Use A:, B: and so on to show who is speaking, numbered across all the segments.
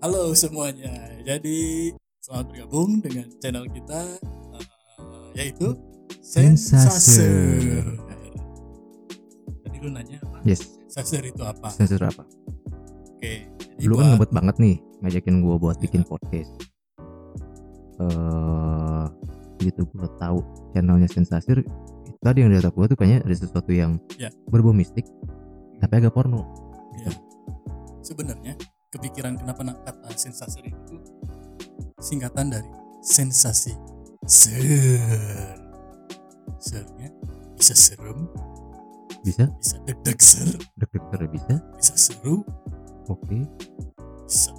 A: Halo semuanya. Jadi selamat bergabung dengan channel kita eh, yaitu Sensaser.
B: Sensaser.
A: Tadi lu nanya apa?
B: Yes.
A: Sensaser itu apa?
B: Sensor apa?
A: Oke. Jadi
B: Lu
A: buat-
B: kan ngebet banget nih ngajakin gua
A: Iya.
B: buat bikin podcast. Eh, gitu gua tahu channelnya Sensasir. Tadi yang di otak gua tuh kayaknya ada sesuatu yang
A: Ya.
B: berbau mistik, tapi agak porno.
A: Iya. Sebenarnya kepikiran kenapa nak- kata sensaser itu singkatan dari sensasi ser. Sernya bisa serem,
B: Bisa,
A: bisa deg-deg ser,
B: deg-deg bisa.
A: bisa seru,
B: Oke.
A: bisa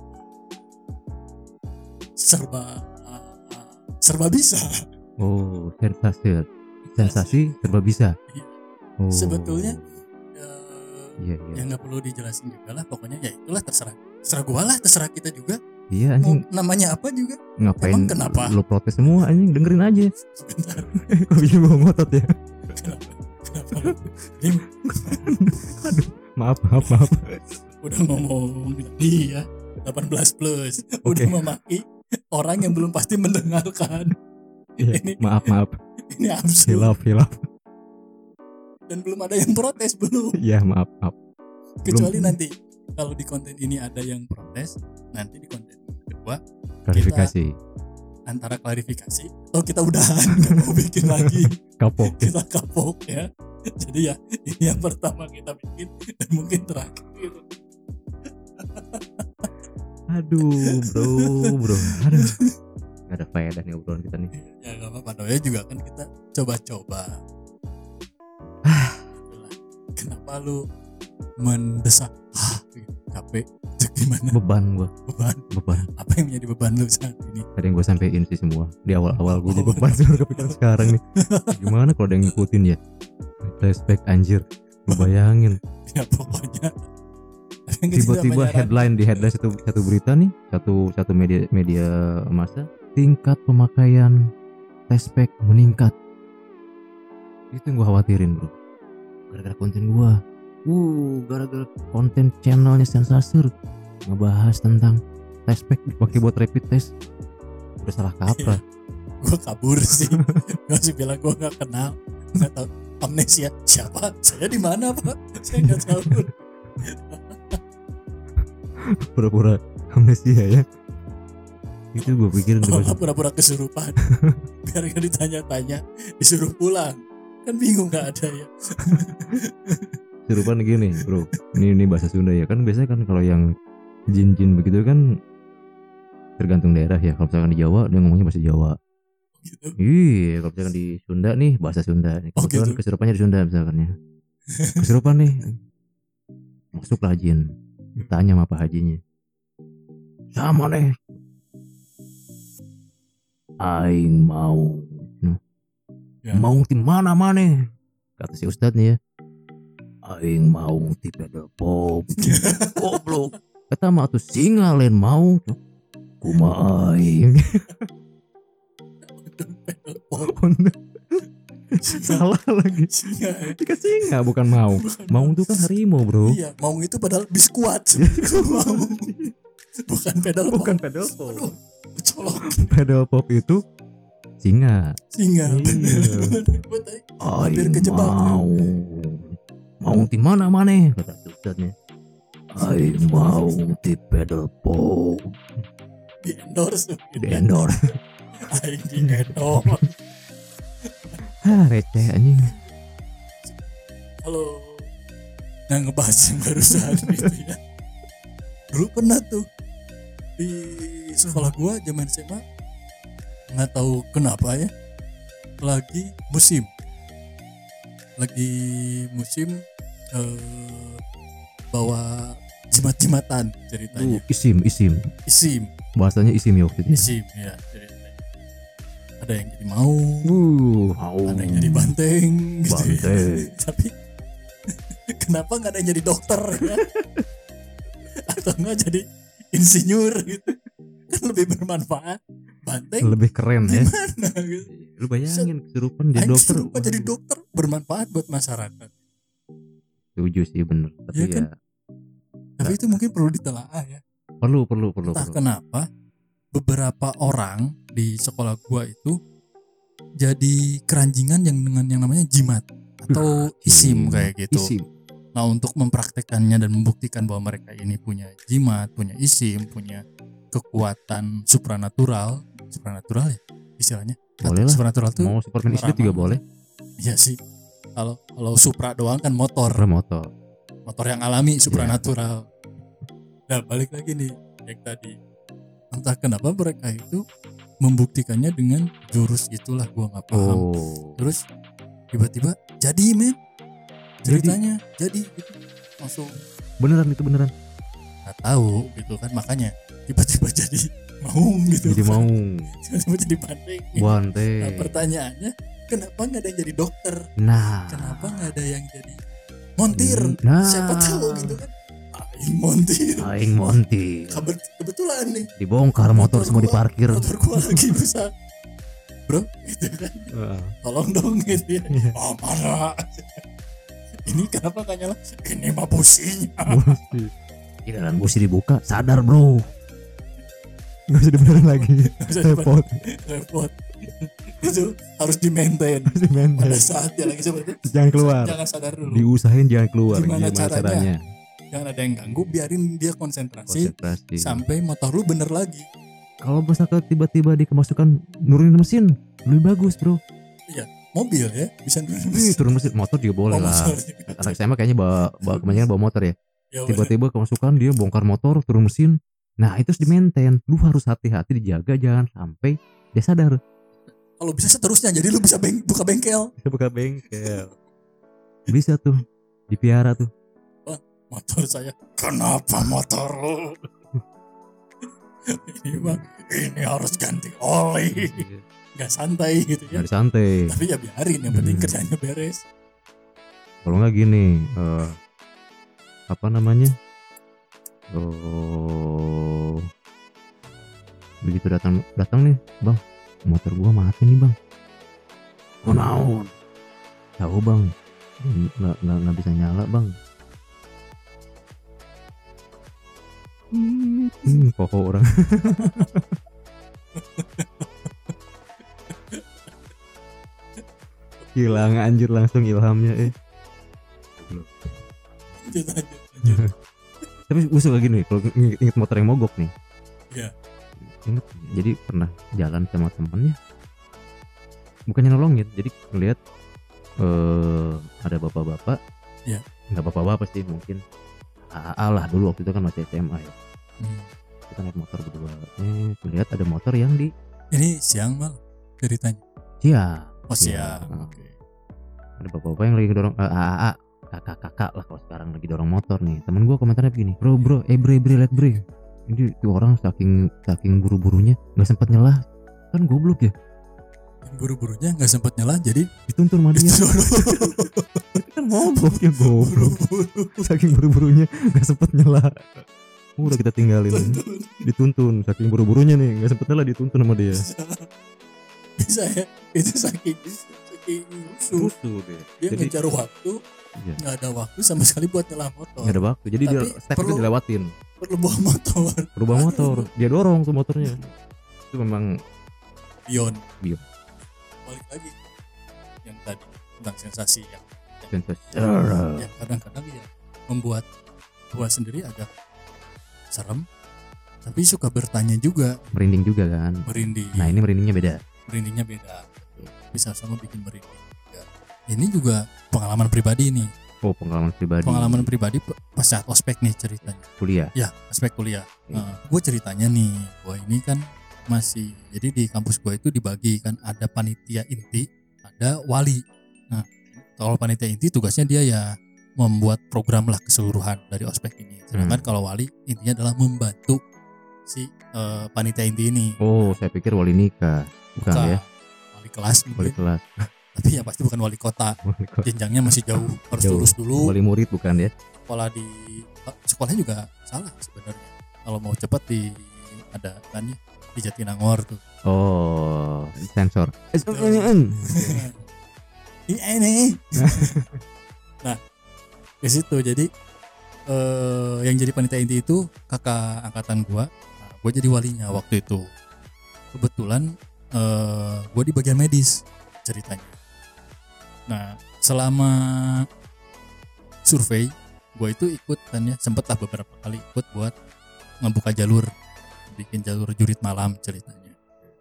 A: serba serba bisa.
B: Oh, Sensasir. Sensasi serba bisa.
A: Iya.
B: Oh.
A: Sebetulnya eh,
B: Iya,
A: ya
B: iya.
A: nggak perlu dijelasin juga lah pokoknya ya itulah terserah terserah gua lah terserah kita juga
B: Iya
A: mau
B: anjing,
A: namanya apa juga
B: ngapain
A: emang kenapa?
B: lu protes semua anjing dengerin aja.
A: sebentar
B: Kok bikin gua ngotot ya?
A: kenapa kenapa Ini
B: Maaf, maaf, maaf.
A: udah ngomong dia 18 plus udah
B: Oke.
A: memaki orang yang belum pasti mendengarkan
B: Iya,
A: Ini-
B: maaf, maaf.
A: ini absurd
B: Hilaf, hilaf.
A: dan belum ada yang protes belum
B: Iya maaf maaf.
A: kecuali nanti kalau di konten ini ada yang protes nanti di konten kedua
B: Klarifikasi.
A: antara klarifikasi atau kita udahan nggak mau bikin lagi
B: Kapok.
A: kita kapok ya jadi ya ini yang pertama kita bikin dan mungkin terakhir
B: Aduh bro bro. Aduh. Gak ada faedah nih obrolan kita nih.
A: ya nggak apa-apa doanya juga kan kita coba-coba Itulah. kenapa lu mendesak ah gitu, capek itu gimana
B: Beban gua
A: beban
B: beban.
A: apa yang menjadi beban lu saat ini
B: Ada yang gue sampein sih semua di awal awal gue jadi beban sih baru kepikiran sekarang nih. Gimana kalau ada yang ngikutin ya? Flashback anjir. Lu bayangin
A: ya pokoknya ada yang kecil
B: tiba-tiba
A: apa nyaran?
B: headline di headline satu satu berita nih satu satu media media massa tingkat pemakaian flashback meningkat itu yang gue khawatirin bro gara-gara konten gue uh gara-gara konten channelnya sensasur ngebahas tentang flashback dipakai buat rapid test udah salah kaprah
A: gua kabur sih gua sih bilang gua nggak kenal nggak tahu amnesia siapa saya di mana pak saya nggak tahu
B: pura-pura amnesia ya itu gue pikir
A: kalau nggak
B: udah
A: pura-pura kesurupan biar nggak ditanya-tanya disuruh pulang kan bingung nggak ada ya
B: serupan gini bro ini ini bahasa Sunda ya kan biasanya kan kalau yang jin-jin begitu kan tergantung daerah ya kalau misalkan di Jawa dia ngomongnya bahasa Jawa
A: gitu
B: iya kalau misalkan di Sunda nih bahasa Sunda
A: Oh,
B: kebetulan
A: gitu.
B: kesurupannya di Sunda misalkan ya kesurupan nih masuklah jin tanya sama Pak Hajinya sama nih aing mau
A: Ya.
B: mau di mana mana kata si ustadz nih ya aing mau di pedopop goblok kata mah tuh singa lain mau kuma aing salah lagi
A: Singa, ya.
B: itu kan singa bukan mau mau itu kan harimau bro
A: iya maung itu padahal biskuat maung bukan pedal
B: bukan
A: pop.
B: pedopop
A: aduh colok
B: pedopop itu singa
A: singa
B: Iya.
A: bener Gua tadi hampir
B: Aing
A: kejebak
B: mau mau di mana mana kata si ustadznya aing mau di pedopop
A: di endorse
B: di endor
A: Aing di endorse
B: Hah, Ah, receh anjing.
A: Halo. Nah ngebahas yang barusan itu ya. Dulu pernah tuh di sekolah gua zaman SMA nggak tahu kenapa ya lagi musim lagi musim eh, bawa jimat-jimatan
B: Tuh,
A: ceritanya
B: Uh, isim, isim.
A: isim
B: Bahasanya isim ya waktu itu.
A: isim ya ceritanya ada yang jadi maung
B: Uh,
A: ada yang jadi banteng gitu ya.
B: Banteng.
A: tapi kenapa nggak ada yang jadi dokter ya atau nggak jadi insinyur gitu kan lebih bermanfaat banteng
B: Lebih keren ya.
A: mana gitu
B: Lu bayangin kesurupan jadi
A: Aing
B: dokter.
A: suruh jadi dokter bermanfaat buat masyarakat
B: Setuju sih bener. Tapi
A: Iya
B: ya,
A: kan? tapi itu mungkin perlu ditelaah ya
B: perlu perlu perlu
A: entah kan,
B: perlu
A: kenapa beberapa orang di sekolah gua itu jadi keranjingan yang dengan yang namanya jimat atau isim kayak gitu.
B: Iya, Hmm. Isim.
A: Nah, untuk mempraktekkannya dan membuktikan bahwa mereka ini punya jimat, punya isim, punya kekuatan supranatural, supranatural ya istilahnya.
B: Boleh lah.
A: Supranatural tuh
B: mau Superman istri juga
A: Ramah.
B: boleh
A: ya sih. Kalau kalau supra doang kan motor.
B: remoto
A: motor yang alami
B: Iya.
A: supranatural. Nah balik lagi nih yang tadi entah kenapa mereka itu membuktikannya dengan jurus itulah gua nggak paham.
B: oh
A: Terus tiba-tiba jadi men ceritanya jadi, gitu. langsung
B: beneran itu beneran
A: nggak tahu gitu kan makanya tiba-tiba jadi mau gitu.
B: jadi mau
A: tiba-tiba jadi banding. Nah,
B: Bante
A: pertanyaannya kenapa nggak ada yang jadi dokter?
B: nah
A: Kenapa nggak ada yang jadi montir?
B: nah
A: Siapa tahu gitu kan. Ah, ini montir.
B: aing monti
A: Kebet- kebetulan nih
B: dibongkar motor semua
A: gua-
B: diparkir
A: motor gua lagi bisa bro gitu kan
B: Heeh.
A: tolong dong gitu ya
B: Iya.
A: oh marah ini kenapa gak nyala ini mah businya
B: Busi. Giliran busi dibuka, sadar bro. Gak bisa dibenerin lagi. Repot,
A: repot itu harus di maintain
B: harus
A: pada
B: di-maintain.
A: saat dia lagi seperti itu
B: Jangan keluar.
A: jangan sadar dulu
B: Diusahain jangan keluar.
A: Gimana
B: Gimana,
A: caranya?
B: caranya?
A: jangan ada yang ganggu biarin dia konsentrasi
B: Konsentrasi.
A: sampai motor lu bener lagi
B: Kalau misalkan tiba-tiba dikemasukan nurunin mesin, lebih bagus bro.
A: mobil ya bisa dulu
B: Ih, turun mesin, motor juga boleh
A: Oh,
B: Iya. lah.
A: motor.
B: Anak SMA kayaknya bawa, bawa kebanyakan bawa motor ya.
A: Ya, bener.
B: Tiba-tiba kemasukan dia bongkar motor, turun mesin. Nah itu harus di-maintain. Lu harus hati-hati dijaga jangan sampai dia sadar.
A: kalau bisa seterusnya jadi lu bisa beng- buka bengkel
B: Dia buka bengkel. Bisa tuh dipiara tuh.
A: motor saya kenapa motor lu ini mah ini harus ganti oli nggak santai gitu ya
B: Nyari santai.
A: tapi ya biarin yang penting
B: Hmm.
A: kerjanya beres
B: Kalau nggak gini, eh, apa namanya? Oh, begitu datang datang nih, bang, motor gua mati nih bang. Oh naon? Tahu bang, nggak nggak nggak bisa nyala bang. Hmm, kok orang hilang anjir langsung ilhamnya eh.
A: lanjut lanjut lanjut
B: tapi gue suka gini kalau ng- inget motor yang mogok nih
A: Iya.
B: Ingat, jadi pernah jalan sama temennya bukannya nolongin jadi ngeliat eh ada bapak-bapak
A: Iya.
B: nggak bapak-bapak sih mungkin AA lah dulu waktu itu kan masih SMA ya
A: Hmm.
B: kita naik motor berdua eh ngeliat ada motor yang di
A: ini siang mal ceritanya
B: Cia
A: oh
B: Iya.
A: siang oke
B: ada bapak-bapak yang lagi dorong eh, AA kakak-kakak lah kalau sekarang lagi dorong motor nih temen gue komentarnya begini bro bro eh bre bre liat bre ini tuh orang saking saking buru-burunya nggak sempat nyelah kan goblok ya
A: Yang buru-burunya nggak sempat nyala jadi
B: dituntun sama dia
A: disuruh
B: kan mogok ya Iya. goblok
A: buru-buru
B: saking buru-burunya nggak sempat nyelah udah kita tinggalin dituntun saking buru-burunya nih nggak sempet nyelah dituntun sama dia
A: bisa ya itu saking saking rusuh
B: rusuh deh
A: dia
B: Jadi-
A: ngejar waktu
B: Iya.
A: nggak ada waktu sama sekali buat nyala motor
B: nggak ada waktu jadi dia
A: Tapi
B: step itu
A: perlu-
B: dilewatin
A: perlu bawa motor
B: berubah motor dia dorong tuh motornya itu memang
A: Bion.
B: Bion.
A: Balik lagi yang tadi tentang sensasi yang
B: sensasi
A: yang kadang-kadang ya membuat gua sendiri agak serem tapi suka bertanya juga
B: merinding juga kan
A: merinding
B: nah ini merindingnya beda
A: merindingnya beda
B: Hmm.
A: bisa sama bikin merinding juga. ini juga pengalaman pribadi nih
B: oh pengalaman pribadi
A: pengalaman pribadi pe- pas saat ospek nih ceritanya
B: kuliah
A: ya ospek kuliah
B: Iya.
A: gue ceritanya nih gue ini kan masih jadi di kampus gue itu dibagi kan ada panitia inti ada wali nah kalau panitia inti tugasnya dia ya membuat program lah keseluruhan dari ospek ini
B: Hmm.
A: sedangkan kalau wali intinya adalah membantu si eh, panitia inti ini
B: oh saya pikir wali nikah bukan
A: Bukan
B: ya
A: wali kelas
B: wali
A: mungkin
B: kelas
A: tapi ya pasti bukan wali kota
B: wali, kelas.
A: jenjangnya masih jauh Iya, harus
B: Jauh.
A: lulus dulu
B: Wali murid bukan ya
A: sekolah di sekolahnya juga salah sebenarnya kalau mau cepat di ada kan ya, di Jatinangor tuh
B: oh sensor
A: Iya. eh, ini nah ke situ jadi eh, yang jadi panitia inti itu kakak angkatan gua nah, gua jadi walinya waktu itu kebetulan eh, gua di bagian medis ceritanya nah selama survei gua itu ikut dan ya sempatlah beberapa kali ikut buat ngebuka jalur bikin jalur jurit malam ceritanya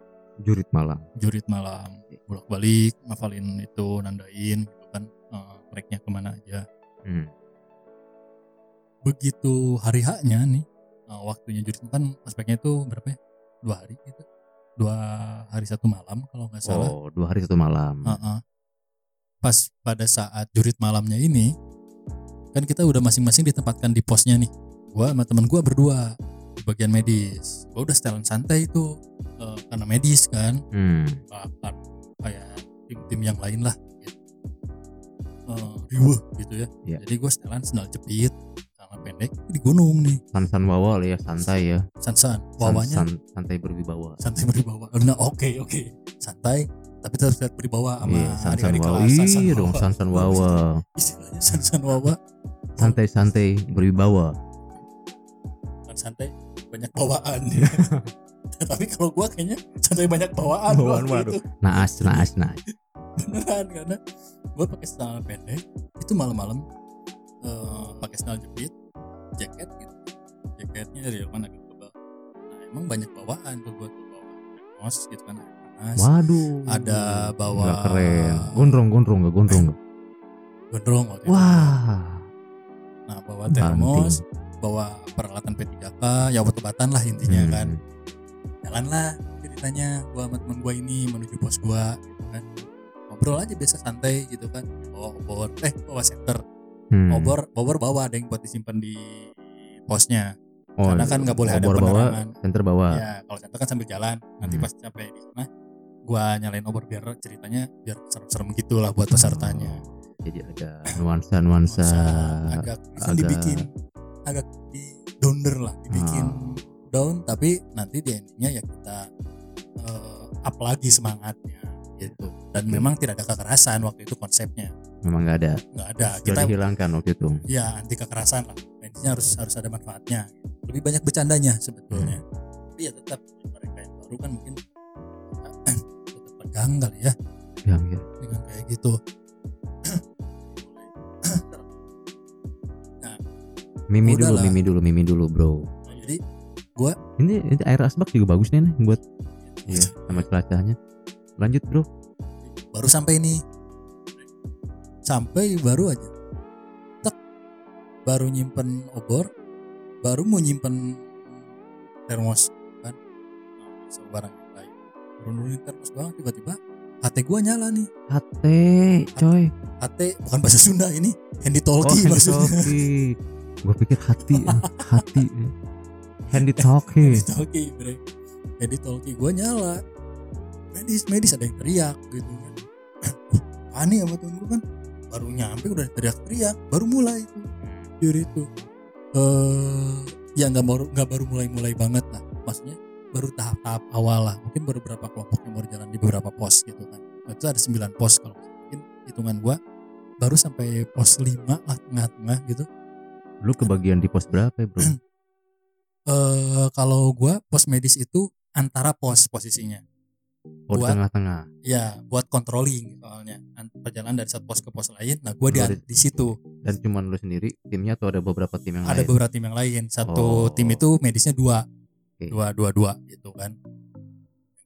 B: jurit malam
A: jurit malam bolak balik ngafalin itu nandain gitu kan eh, tracknya kemana aja
B: Hmm.
A: begitu hari haknya nih uh, waktunya jurit kan aspeknya itu berapa ya dua hari gitu dua hari satu malam kalau nggak salah
B: Oh, dua hari satu malam.
A: Uh-uh. pas pada saat jurit malamnya ini kan kita udah masing-masing ditempatkan di posnya nih gua sama teman gua berdua di bagian medis gua udah setelan santai itu uh, karena medis kan
B: Hmm.
A: bakar kayak tim-tim yang lain lah gitu. Eh, riweuh gitu ya
B: Iya.
A: jadi gue setelan sandal jepit sama pendek di gunung nih
B: San-san wawal ya, santai ya.
A: sansan
B: San-
A: bawahnya
B: san- santai berwibawa.
A: santai berwibawa nah oke oke santai tapi tetap tetap berwibawa sama
B: Iya, san-san
A: adik-adik
B: wawal.
A: kelas sansan
B: Iya
A: wawa.
B: dong, san-san wawal.
A: istilahnya sansan wawa
B: Santai-santai berwibawa.
A: bukan santai banyak bawaan tapi kalau gue kayaknya santai banyak bawaan gitu.
B: Bawaan,
A: waktu
B: waduh.
A: itu.
B: Naas, naas, naas.
A: beneran karena gue pakai celana pendek itu malam-malam eh, pakai celana jepit jaket gitu jaketnya dari mana agak tebal nah, emang banyak bawaan tuh gue tuh bawa kaos gitu kan air panas
B: Waduh.
A: Ada bawa-
B: Nggak keren. Gondrong, gondrong, nggak gondrong. nggak?
A: gondrong waktu itu.
B: Wah.
A: nah bawa termos bawa peralatan P3K ya obat-obatan lah intinya
B: Hmm.
A: kan jalan lah ceritanya gua sama temen gua ini menuju pos gua gitu kan ngobrol aja biasa santai gitu kan bawa obor eh bawa senter
B: Hmm.
A: obor obor bawa ada yang buat disimpan di posnya karena kan nggak boleh ada
B: Oh, iya. bawa,
A: penerangan
B: center bawa.
A: ya kalau contoh kan sambil jalan nanti
B: Hmm.
A: pas sampai di sana gua nyalain obor biar ceritanya biar serem-serem gitulah buat pesertanya
B: Oh, Jadi ada nuansa-nuansa.
A: Masa agak kan
B: Oh, agak-
A: dibikin agak di downer lah dibikin
B: Hmm.
A: down tapi nanti di endingnya ya kita eh, up lagi semangatnya gitu dan
B: Hmm.
A: memang tidak ada kekerasan waktu itu konsepnya
B: Memang nggak ada.
A: nggak ada
B: Sudah
A: Nah, kita
B: dihilangkan waktu itu.
A: ya anti kekerasan lah intinya harus harus ada manfaatnya lebih banyak bercandanya sebetulnya
B: Hmm.
A: tapi ya tetap mereka yang baru kan mungkin eh, tetap tegang kali ya
B: Yang ya.
A: dengan kayak gitu
B: Mimi
A: Udah
B: dulu,
A: lah.
B: Mimi dulu, Mimi dulu, bro.
A: Nah, jadi
B: Ini, ini air asbak juga bagus nih, Nen, buat iya, sama celacahnya. Lanjut, bro.
A: baru sampai nih sampai baru aja tek baru nyimpen obor baru mau nyimpen termos kan sebarang yang lain baru nurunin termos doang tiba-tiba HT gua nyala nih
B: HT, coy.
A: HT bukan bahasa Sunda ini handy
B: Oh,
A: talkie
B: handy
A: maksudnya
B: talkie. Gua pikir hati, eh, hati. Handy talkie.
A: handy talkie bre handy talkie gua nyala medis medis ada yang teriak gitu kan aneh sama temen gua kan baru nyampe udah teriak-teriak baru mulai itu jujur itu eh ya nggak baru nggak baru mulai mulai banget lah maksudnya baru tahap-tahap awal lah mungkin baru beberapa kelompok yang baru jalan di beberapa pos gitu kan Nah, itu ada 9 pos kalau nggak salah. mungkin hitungan gua baru sampai pos 5 lah tengah-tengah gitu
B: Lu kebagian di pos berapa, ya, bro?
A: eh kalau gua pos medis itu antara pos posisinya
B: Oh, di
A: Buat-
B: tengah-tengah.
A: ya buat controlling soalnya An- perjalanan dari satu pos ke pos lain nah gua di,
B: Berarti-
A: di situ
B: Dan cuman lu sendiri, timnya atau ada beberapa tim yang
A: ada
B: lain?
A: beberapa tim yang lain satu
B: Oh. Hmm.
A: tim itu medisnya dua
B: Oke.
A: dua dua dua gitu kan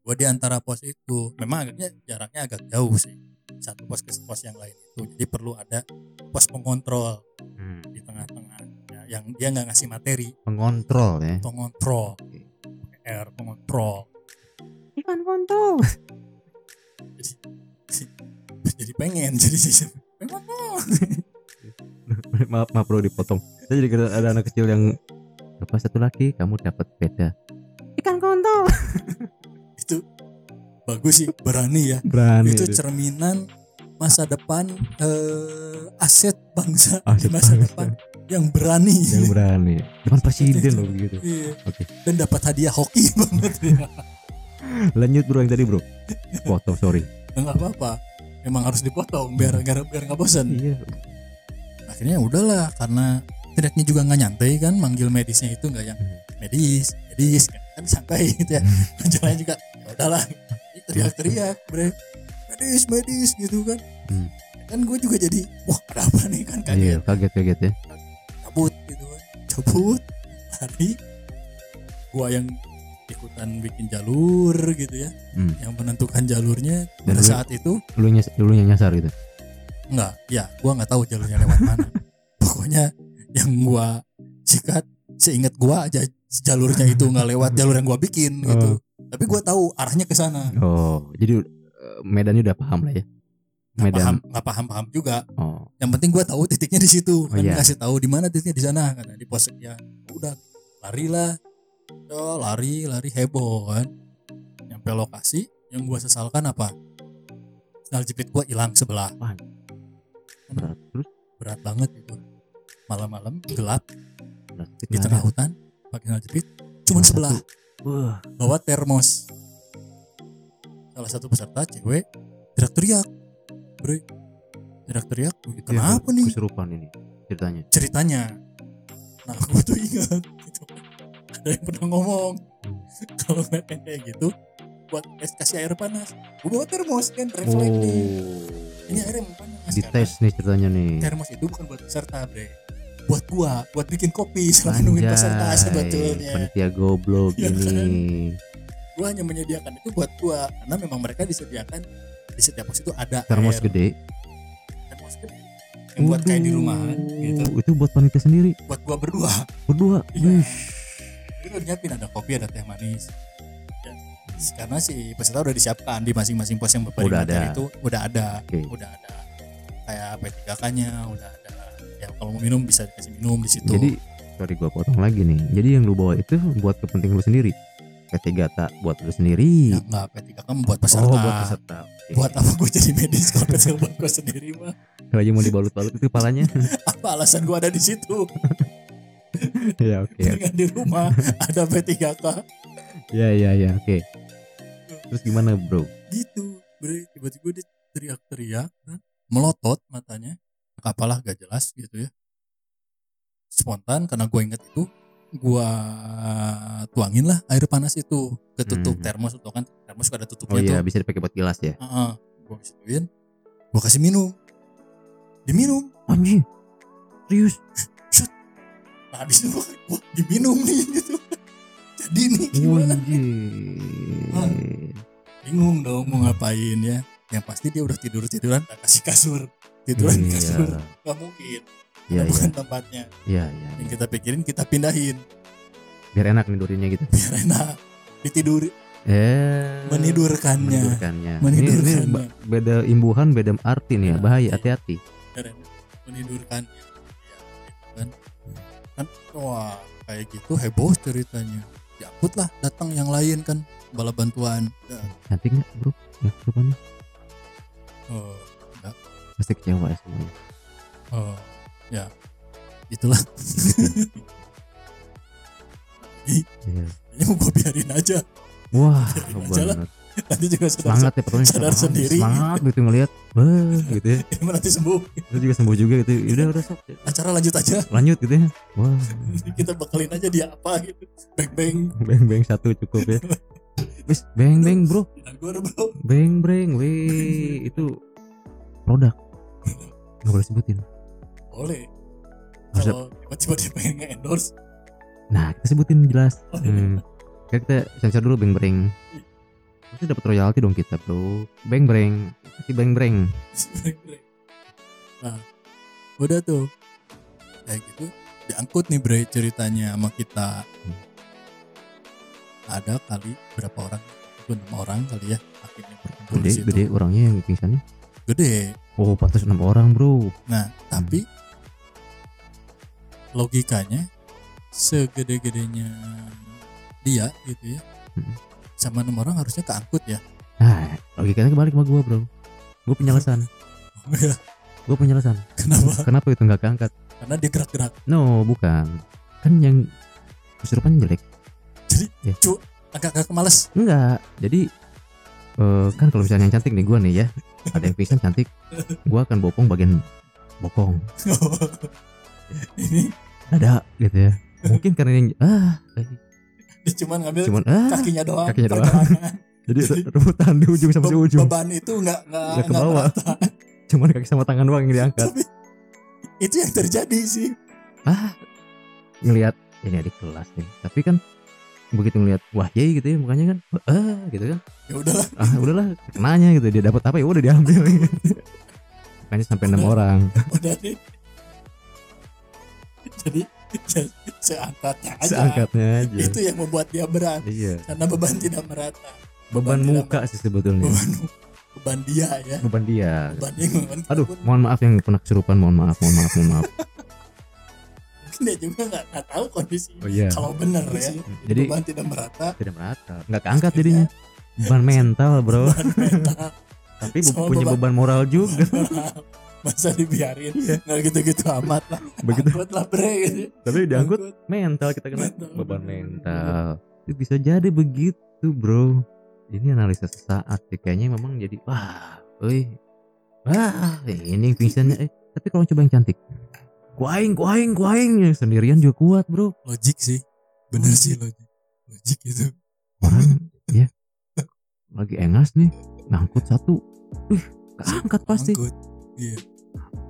A: gue di antara pos itu memang agaknya jaraknya agak jauh sih satu pos ke pos yang lain itu jadi perlu ada pos pengontrol
B: Hmm,
A: di tengah-tengah ya, yang dia nggak ngasih materi
B: Pengontrol ya.
A: pengontrol
B: Oke.
A: R pengontrol
B: Ikan kontrol.
A: jadi pengen jadi sih
B: maaf, maaf bro dipotong. Saya jadi kira ada anak kecil yang Lepas satu lagi, kamu dapat beda. Ikan kontol.
A: itu bagus sih berani ya
B: Berani.
A: itu
B: dia.
A: cerminan masa depan eh, aset bangsa
B: Ah, Aset
A: di masa
B: bangsa.
A: depan yang berani Gitu.
B: yang berani. Depan presiden loh begitu.
A: Iya.
B: Oke.
A: dan dapat hadiah hoki banget ya.
B: Lanjut bro yang tadi bro. Potong sorry.
A: Ya, nggak apa-apa emang harus dipotong biar biar biar nggak bosan
B: Iya.
A: akhirnya ya udahlah karena teriaknya juga nggak nyantai kan manggil medisnya itu nggak yang
B: Hmm.
A: medis medis kan, Kan santai gitu ya jalan juga ya udahlah teriak-teriak bre medis medis gitu kan
B: Hmm.
A: kan gue juga jadi wah ada apa nih kan
B: Iya,
A: kaget
B: kaget kaget ya.
A: cabut gitu kan cabut lari gua yang ikutan bikin jalur gitu ya
B: Hmm.
A: yang menentukan jalurnya pada
B: Jalur.
A: saat itu
B: Lu nyes, lu nyasar gitu.
A: Enggak, ya gua nggak tahu jalurnya lewat mana. Pokoknya yang gua sikat seingat gua aja jalurnya itu nggak lewat jalur yang gua bikin gitu. Tapi gua tahu arahnya ke sana.
B: Oh, jadi eh, medannya udah paham lah ya.
A: Nggak
B: Medan.
A: paham, nggak paham paham juga.
B: Oh,
A: Yang penting gua tahu titiknya di situ.
B: Oh,
A: Kan
B: iya.
A: ngasih tahu di mana titiknya di sana kan di pos sekian. Udah lari lah. Yo, lari, lari heboh kan. Nyampe lokasi yang gua sesalkan apa? Sandal jepit gua hilang sebelah.
B: berat. Terus
A: Berat banget itu. Malam-malam gelap
B: berat.
A: di tengah hutan pakai sandal jepit cuman
B: Cuma
A: sebelah
B: Wah,
A: bawa termos salah satu peserta cewek teriak-teriak bre teriak-teriak
B: itu yang
A: kenapa nih
B: Kesurupan ini ceritanya.
A: ceritanya nah aku tuh ingat gitu. ada yang pernah ngomong kalau ngeliatin kayak gitu buat es kasih air panas gue bawa termos kan reflecting ini airnya mau panas
B: Oh, Di
A: kan?
B: tes nih ceritanya nih.
A: termos itu bukan buat peserta bre buat gua buat bikin kopi selama nungguin ya. peserta
B: Anjay,
A: sebetulnya
B: Panitia goblok
A: Iya kan?
B: ini.
A: gue hanya menyediakan itu buat gue karena memang mereka disediakan di setiap pos itu ada
B: Termos
A: air,
B: gede.
A: termos gede yang buat kayak di rumah gitu
B: Waduh, Uhuh, Itu buat panitia sendiri.
A: buat gue berdua
B: Berdua.
A: Iya.
B: Wih.
A: itu udah nyiapin ada kopi ada teh manis Dan karena si peserta udah disiapkan di masing-masing pos yang berbeda
B: Udah ada.
A: itu udah ada
B: Oke.
A: udah ada kayak P3K nya udah ada ya kalau mau minum bisa dikasih minum di situ
B: Jadi sorry gua potong lagi nih. Jadi yang lu bawa itu buat kepentingan lu sendiri. Ketiga tak buat lu sendiri.
A: ya, enggak P3K membuat peserta,
B: Oh, buat peserta. Oke.
A: buat apa gue jadi medis kalau kecil buat gue sendiri mah
B: Kalau aja mau dibalut-balut itu kepalanya.
A: apa alasan gue ada di situ
B: ya oke.
A: dengan di rumah ada P3K
B: Ya ya ya oke. Terus gimana bro?
A: gitu bre tiba-tiba dia teriak-teriak kan. melotot matanya apalah gak jelas gitu ya spontan karena gue inget itu gue tuangin lah air panas itu ke tutup
B: Hmm.
A: termos itu kan termos suka ada tutupnya
B: Oh iya
A: tuh
B: bisa dipakai buat gelas ya.
A: gue masukin gue kasih minum diminum
B: Anjing. Serius.
A: nah habis itu wah diminum nih gitu jadi nih gimana Hah?
B: Anjing.
A: bingung dong mau ngapain ya yang pasti dia udah tidur tiduran kasih kasur tiduran kasur nggak mungkin
B: Iya
A: Karena
B: iya
A: bukan tempatnya
B: iya iya.
A: yang kita pikirin kita pindahin
B: Biar enak nidurinnya gitu.
A: biar enak ditidur
B: Eh.
A: menidurkannya
B: Menidurkannya. Ini, ini
A: Menidurkannya.
B: ba- beda imbuhan, beda arti
A: Iya.
B: nih ya. Bahaya, hati-hati.
A: Biar enak. menidurkannya Ya, gitu kan kan wah kayak gitu heboh ceritanya diangkut lah datang yang lain kan bala bantuan ya,
B: Cantik nggak bro? Ya, rupanya
A: oh,
B: pasti kecewa ya semuanya.
A: oh, ya itulah
B: Iya.
A: ini mau gue biarin aja
B: Wah,
A: Biarin aja lah.
B: bener.
A: nanti juga saudara
B: Semangat ya pokoknya.
A: Sadar
B: semangat,
A: sendiri.
B: Semangat gitu ngelihat. Wah, gitu ya.
A: ini nanti sembuh
B: Terus juga sembuh juga gitu. Udah, udah sok.
A: acara lanjut aja
B: Lanjut gitu ya. Wah.
A: kita bekelin aja dia apa gitu bang bang
B: Beng-beng satu cukup ya. Wis, beng-beng bro.
A: gue bro
B: Beng breng, weh itu produk. Gak boleh sebutin.
A: boleh
B: Harus
A: kalau tiba-tiba dia pengen nge-endorse
B: Nah, kita sebutin jelas.
A: Oh, iya.
B: Hmm. Kayak kita sensor dulu beng breng. Nanti dapat royalti dong kita, Bro. Beng breng, kasih beng breng.
A: nah udah tuh kayak gitu diangkut nih bre ceritanya sama kita
B: Hmm.
A: ada kali berapa orang Itu enam orang kali ya akhirnya berkumpul di
B: Gede,
A: situ
B: gede orangnya yang pingsannya.
A: gede.
B: Oh, pantas 6 orang, Bro.
A: nah tapi logikanya segede-gedenya dia gitu ya
B: Hmm.
A: sama enam orang harusnya keangkut ya
B: Nah, logikanya kebalik sama gua, Bro. Gua punya alasan. Gua punya alasan.
A: kenapa
B: Kenapa itu nggak keangkat?
A: karena dia gerak-gerak
B: No, bukan. Kan yang kesurupan jelek. Ya.
A: agak-agak males
B: Enggak. Jadi eh, kan kalau misalnya yang cantik nih gua nih ya, ada yang pingsan cantik, gua akan bopong bagian bokong.
A: ini
B: ada gitu ya mungkin karena ini ah
A: cuman ngambil
B: cuman ah
A: kakinya doang
B: kakinya doang.
A: pergelangan.
B: jadi
A: jadi-
B: rebutan di ujung sama si
A: Be-
B: ujung
A: beban itu nggak nggak
B: Nggak ke
A: nggak
B: bawah.
A: merata.
B: cuman kaki sama tangan doang yang diangkat
A: Tapi itu yang terjadi sih
B: ngelihat ya ini adik kelas nih tapi kan begitu ngelihat Wahyai gitu ya mukanya kan ah gitu kan
A: ya udahlah
B: ah udahlah kenanya gitu dia dapat apa ya udah diambil makanya sampai
A: Nah,
B: enam orang
A: udah deh jadi se- seangkatnya aja
B: seangkatnya aja
A: itu yang membuat dia berat
B: iya
A: karena beban tidak merata
B: beban
A: tidak-
B: muka sih sebetulnya
A: beban beban dia ya
B: beban dia
A: beban dia beban kita
B: aduh
A: pun
B: mohon maaf yang pernah kesurupan mohon maaf mohon maaf mohon maaf
A: mungkin dia juga nggak nggak tahu kondisi
B: oh iya
A: kalau benar ya
B: jadi
A: beban tidak merata
B: tidak merata nggak keangkat jadinya beban mental bro
A: Iya. beban mental
B: tapi bu-
A: Sama
B: punya
A: beban-
B: beban moral juga
A: masa dibiarin nggak gitu-gitu amat lah
B: Iya. begitu
A: Angkut lah bre gitu
B: tapi diangkut
A: Angkut.
B: mental kita kena
A: Mental.
B: beban mental itu bisa jadi begitu bro ini analisa sesaat sih kayaknya memang jadi wah woi wah ini yang pingsannya eh tapi kalau coba yang cantik kuaing kuaing kuaing sendirian juga kuat bro
A: logik sih bener sih logik logik itu
B: orang ya lagi engas nih ngangkut satu Wih, keangkat pasti
A: Angkut. iya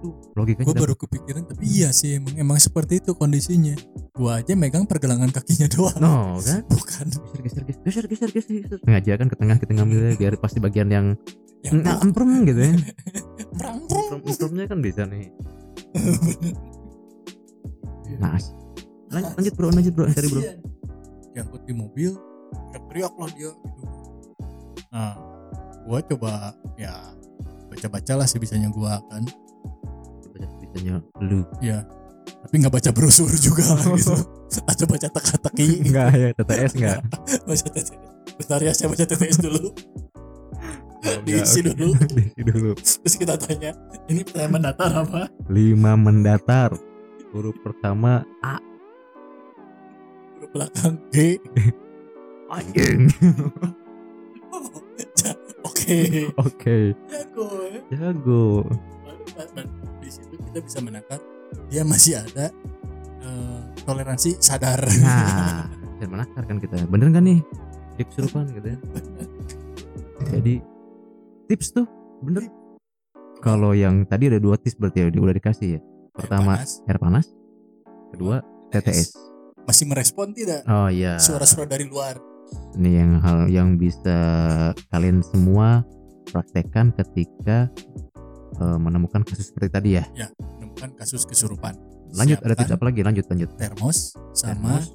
B: Tuh, logikanya
A: gue
B: dapat.
A: baru kepikiran tapi iya sih emang emang seperti itu kondisinya gue aja megang pergelangan kakinya doang
B: no kan
A: bukan
B: geser geser geser geser geser geser sengaja kan ke tengah kita ngambilnya biar pasti bagian yang
A: yang
B: nah emprem gitu ya
A: perang
B: emprem empremnya kan bisa nih
A: Iya.
B: nah as- lanjut, lanjut bro lanjut bro cari bro
A: Kasian. diangkut di mobil teriak lah dia gitu. nah gue coba ya baca bacalah sebisanya gue kan
B: bisanya lu
A: tapi nggak baca brosur juga gitu atau baca teka-teki
B: enggak ya TTS enggak
A: baca TTS bentar ya saya baca TTS dulu Diisi
B: Enggak,
A: Iya, dulu.
B: oke. diisi dulu
A: terus kita tanya ini pertanyaan mendatar apa
B: lima mendatar huruf pertama A
A: Huruf belakang G
B: anjing
A: Ja- oke
B: oke
A: jago ya.
B: jago
A: Dan- dan di situ kita bisa menangkap dia masih ada eh, toleransi sadar
B: Nah, dan menakar kan kita. Bener kan nih? Dia kesurupan gitu ya. Jadi tips tuh bener. Kalau yang tadi ada dua tips berarti ya udah dikasih ya. Pertama
A: Panas.
B: air panas, kedua TTS.
A: masih merespon tidak
B: Oh iya.
A: suara-suara dari luar
B: Ini yang hal yang bisa kalian semua praktekkan ketika eh, menemukan kasus seperti tadi ya.
A: menemukan kasus kesurupan
B: Lanjut ada tips
A: Siapkan
B: apa lagi? Lanjut lanjut.
A: termos sama
B: Termos,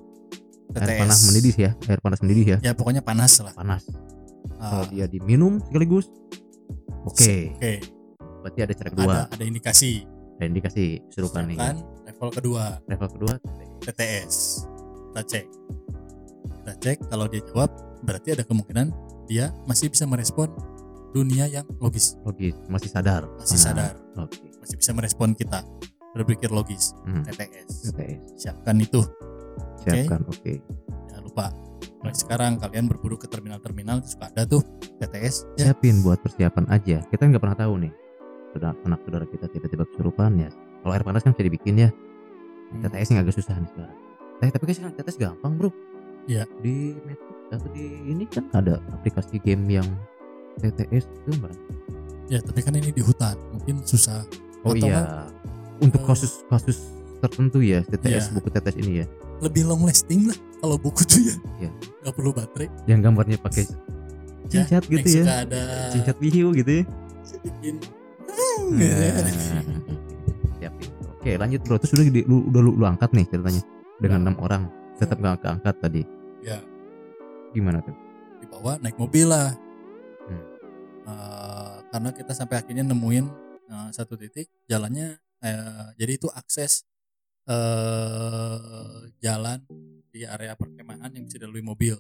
A: TTS
B: air panas mendidih ya. Air panas mendidih ya.
A: ya pokoknya panas lah
B: Panas.
A: Ah,
B: Kalau Eh, dia diminum sekaligus. Oh, iya. Oke.
A: oke
B: Berarti ada cara kedua.
A: ada ada indikasi
B: Ada indikasi serupa nih.
A: Sedangkan level kedua
B: Level kedua
A: TTS kita cek kita cek kalau dia jawab berarti ada kemungkinan dia masih bisa merespon dunia yang logis
B: logis, masih sadar.
A: masih
B: Ah,
A: sadar
B: Oke.
A: masih bisa merespon kita berpikir logis
B: Hmm.
A: TTS
B: Oke,
A: siapkan itu
B: siapkan. Oke.
A: jangan lupa mulai sekarang kalian berburu ke terminal-terminal suka ada tuh TTS ya
B: Siapin buat persiapan aja. Kita nggak pernah tahu nih. Sudah anak saudara kita tiba-tiba kesurupan ya. Kalau air panas kan bisa dibikin ya.
A: Hmm.
B: TTS nggak agak susah nih sekarang. Eh tapi kan sekarang TTS gampang bro.
A: Iya.
B: Di Netflix atau di ini kan ada aplikasi game yang TTS itu mbak.
A: ya tapi kan ini di hutan mungkin susah
B: Oh
A: Atau
B: iya. Untuk
A: eh,
B: kasus-kasus tertentu ya TTS
A: Iya.
B: buku TTS ini ya.
A: lebih long lasting lah kalau buku tuh ya
B: Iya.
A: nggak perlu baterai
B: yang gambarnya pakai
A: Ya,
B: cincat gitu
A: yang
B: ya
A: suka ada
B: cincat biru gitu ya
A: bikin Iya. Ya.
B: Hmm. Siap. oke lanjut bro terus udah di- lu, udah lu, lu angkat nih ceritanya dengan enam orang tetap nggak keangkat tadi
A: Ya.
B: gimana tuh
A: dibawa naik mobil lah
B: Hmm.
A: Eh, karena kita sampai akhirnya nemuin eh, satu titik jalannya eh, jadi itu akses eh jalan di area perkemahan yang bisa dilalui mobil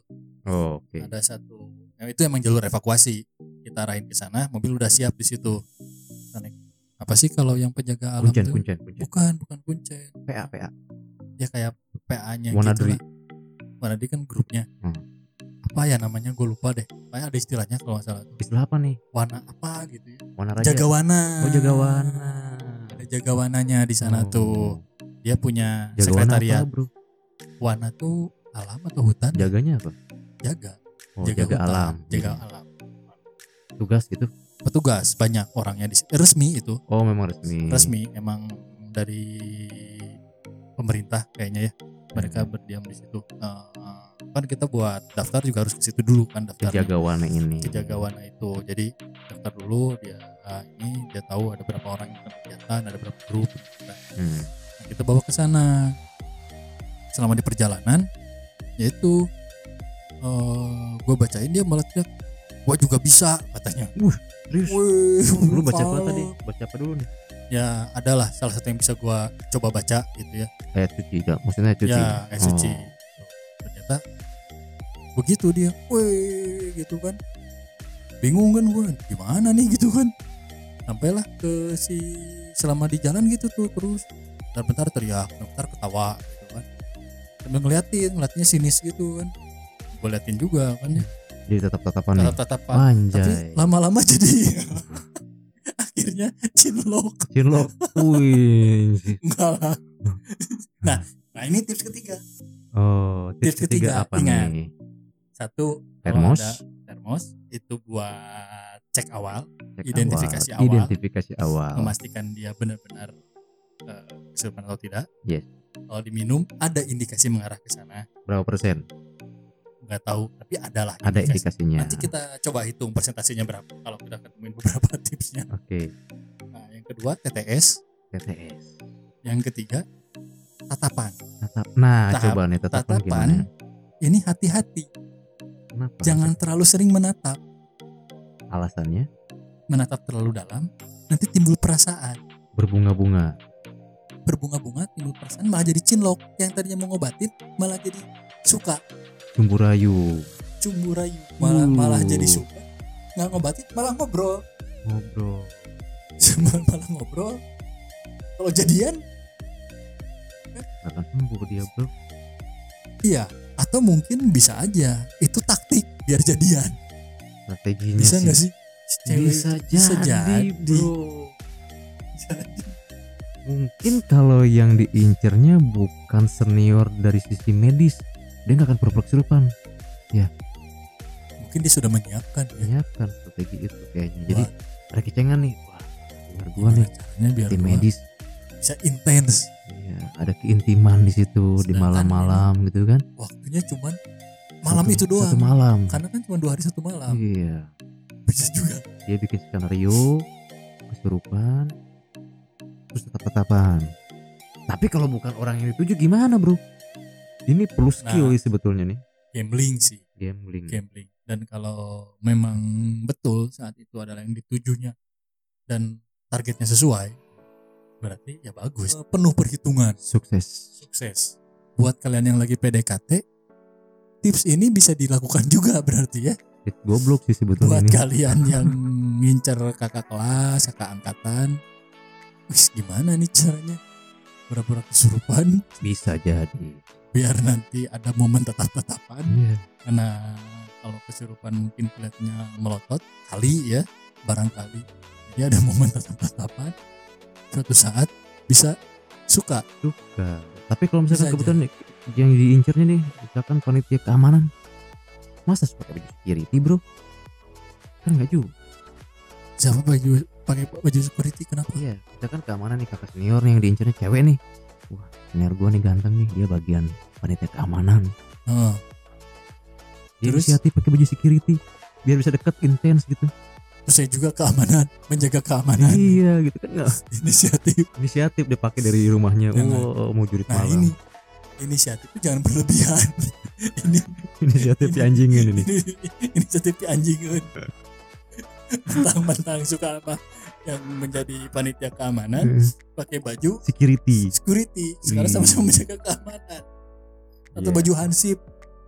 B: oh, oke
A: ada satu nah, itu emang jalur evakuasi kita arahin ke sana mobil udah siap di situ Kita naik. apa sih kalau yang penjaga alam
B: kuncen
A: tuh?
B: kuncen kuncen
A: bukan bukan kuncen
B: PA PA
A: ya kayak PA-nya
B: Wanadri.
A: gitu lah. Wanadri kan grupnya
B: Hmm.
A: apa ya namanya gue lupa deh kayak ada istilahnya kalau nggak salah
B: istilah apa nih
A: warna apa gitu ya
B: warna Iya. raja
A: jaga wana
B: oh jaga warna
A: ada jaga wananya di sana tuh Dia punya
B: Jagoan
A: sekretariat.
B: Oh. apa bro?
A: Wana tuh alam atau hutan?
B: Jaganya apa?
A: Jaga.
B: Oh, jaga,
A: hutan,
B: alam.
A: Jaga
B: Iya.
A: alam.
B: Tugas gitu.
A: Petugas banyak orangnya di eh, resmi itu.
B: Oh, memang resmi.
A: Resmi emang dari pemerintah kayaknya ya. Mereka
B: Hmm.
A: berdiam di situ. Eh, eh, kan kita buat daftar juga harus ke situ dulu kan daftarnya.
B: Kejagawan ini.
A: kejagawana itu jadi daftar dulu dia ah, ini dia tahu ada berapa orang yang kegiatan ada berapa grup Nah,
B: Hmm.
A: kita bawa ke sana selama di perjalanan yaitu gue bacain dia malah teriak gue juga bisa katanya
B: Serius?
A: Wih,
B: Lu baca apa
A: wow.
B: tadi? Baca apa dulu nih?
A: ya adalah salah satu yang bisa gue coba baca gitu ya
B: Eh, cuci. ya. Maksudnya cuci.
A: ya eh, suci
B: Oh.
A: ternyata begitu dia weh gitu kan bingung kan gue gimana nih gitu kan sampailah ke si selama di jalan gitu tuh terus dan bentar teriak bentar ketawa gitu kan sambil ngeliatin ngeliatnya sinis gitu kan gue liatin juga kan ya
B: Jadi tatap-tatapan nih.
A: tatap tatapan tapi
B: Anjay.
A: lama-lama jadi akhirnya cinlok
B: Cinlok. Wih.
A: enggak lah nah nah ini tips ketiga
B: Oh,
A: Tips ketiga,
B: tips, ketiga, Oh, apa
A: ingat.
B: nih?
A: satu kalau
B: Termos.
A: Oh, ada termos itu buat cek awal
B: Cek
A: Identifikasi awal.
B: Identifikasi awal.
A: memastikan dia benar-benar eh, kesurupan atau tidak
B: Yes.
A: kalau diminum ada indikasi mengarah ke sana
B: Berapa persen?
A: nggak tahu tapi adalah
B: Ada
A: indikasi.
B: indikasinya.
A: nanti kita coba hitung persentasenya berapa kalau kita ketemuin beberapa tipsnya
B: Oke,
A: nah yang kedua TTS
B: TTS.
A: yang ketiga tatapan
B: Tatap. Nah,
A: Tahap-
B: coba nih tatapan,
A: tatapan.
B: gimana?
A: ini hati-hati
B: Kenapa?
A: jangan terlalu sering menatap
B: alasannya
A: menatap terlalu dalam nanti timbul perasaan
B: berbunga-bunga.
A: berbunga-bunga timbul perasaan malah jadi cinlok yang tadinya mau ngobatin malah jadi suka
B: Jumbu rayu,
A: cumbu rayu malah
B: Uh.
A: malah jadi suka nggak ngobatin malah ngobrol
B: ngobrol.
A: Malah- malah ngobrol kalau jadian
B: Akan sembuh dia, Bro.
A: iya atau mungkin bisa aja itu taktik biar jadian
B: Strateginya
A: bisa
B: sih.
A: nggak sih Si cewek
B: Bisa
A: itu
B: jadi,
A: jadi.
B: Bro.
A: Bisa jadi.
B: Mungkin kalau yang diincernya bukan senior dari sisi medis, dia nggak akan pura-pura kesurupan.
A: mungkin dia sudah menyiapkan ya.
B: Menyiapkan Iya kan? strategi itu kayaknya. Jadi
A: Wah,
B: ada kecengan nih. Wah, dengar gua nih
A: caranya biar
B: tim
A: gua
B: medis.
A: bisa intens
B: Iya, ada keintiman di situ di
A: Sedangkan
B: malam-malam gitu kan.
A: waktunya cuman malam
B: Satu-
A: itu doang
B: Satu malam.
A: karena kan cuma dua hari satu malam
B: Iya.
A: bisa juga
B: dia bikin skenario kesurupan terus tetap tatapan tapi kalau bukan orang yang dituju gimana bro ini perlu skill
A: Nah.
B: sih sebetulnya nih
A: gambling sih
B: gambling
A: gambling dan kalau memang betul saat itu adalah yang ditujunya dan targetnya sesuai berarti ya bagus penuh perhitungan
B: sukses
A: sukses buat kalian yang lagi PDKT tips ini bisa dilakukan juga berarti ya
B: It goblok sih sebetulnya
A: buat
B: ini
A: kalian yang ngincer kakak kelas kakak angkatan wis gimana nih caranya pura-pura kesurupan
B: bisa jadi
A: biar nanti ada momen tatap-tatapan
B: Iya.
A: karena kalau kesurupan mungkin kelihatannya melotot kali ya barangkali dia ada momen tatap-tatapan suatu saat bisa suka
B: suka tapi kalau
A: Bisa
B: misalkan kebetulan yang diincernya nih misalkan panitia keamanan masa suka pakai baju security bro kan nggak juga
A: siapa baju pakai baju security kenapa
B: Iya, misalkan keamanan nih kakak senior nih yang diincernya cewek nih. Wah, senior gua nih ganteng nih, dia bagian panitia keamanan.
A: Heeh.
B: Dia
A: Terus?
B: inisiatif pakai baju security biar bisa deket intens gitu.
A: terus saya juga keamanan menjaga keamanan
B: Iya, gitu kan nggak
A: inisiatif
B: inisiatif dia pakai dari rumahnya.
A: Jangan.
B: Wah, mau jurit
A: nah
B: malam.
A: ini inisiatif itu jangan berlebihan ini
B: inisiatif si anjingin ini.
A: inisiatif di anjingan mentang-mentang suka apa yang menjadi panitia keamanan
B: Heeh,
A: pakai baju
B: security.
A: security sekarang
B: Hmm.
A: sama-sama menjaga keamanan atau
B: Iya.
A: baju hansip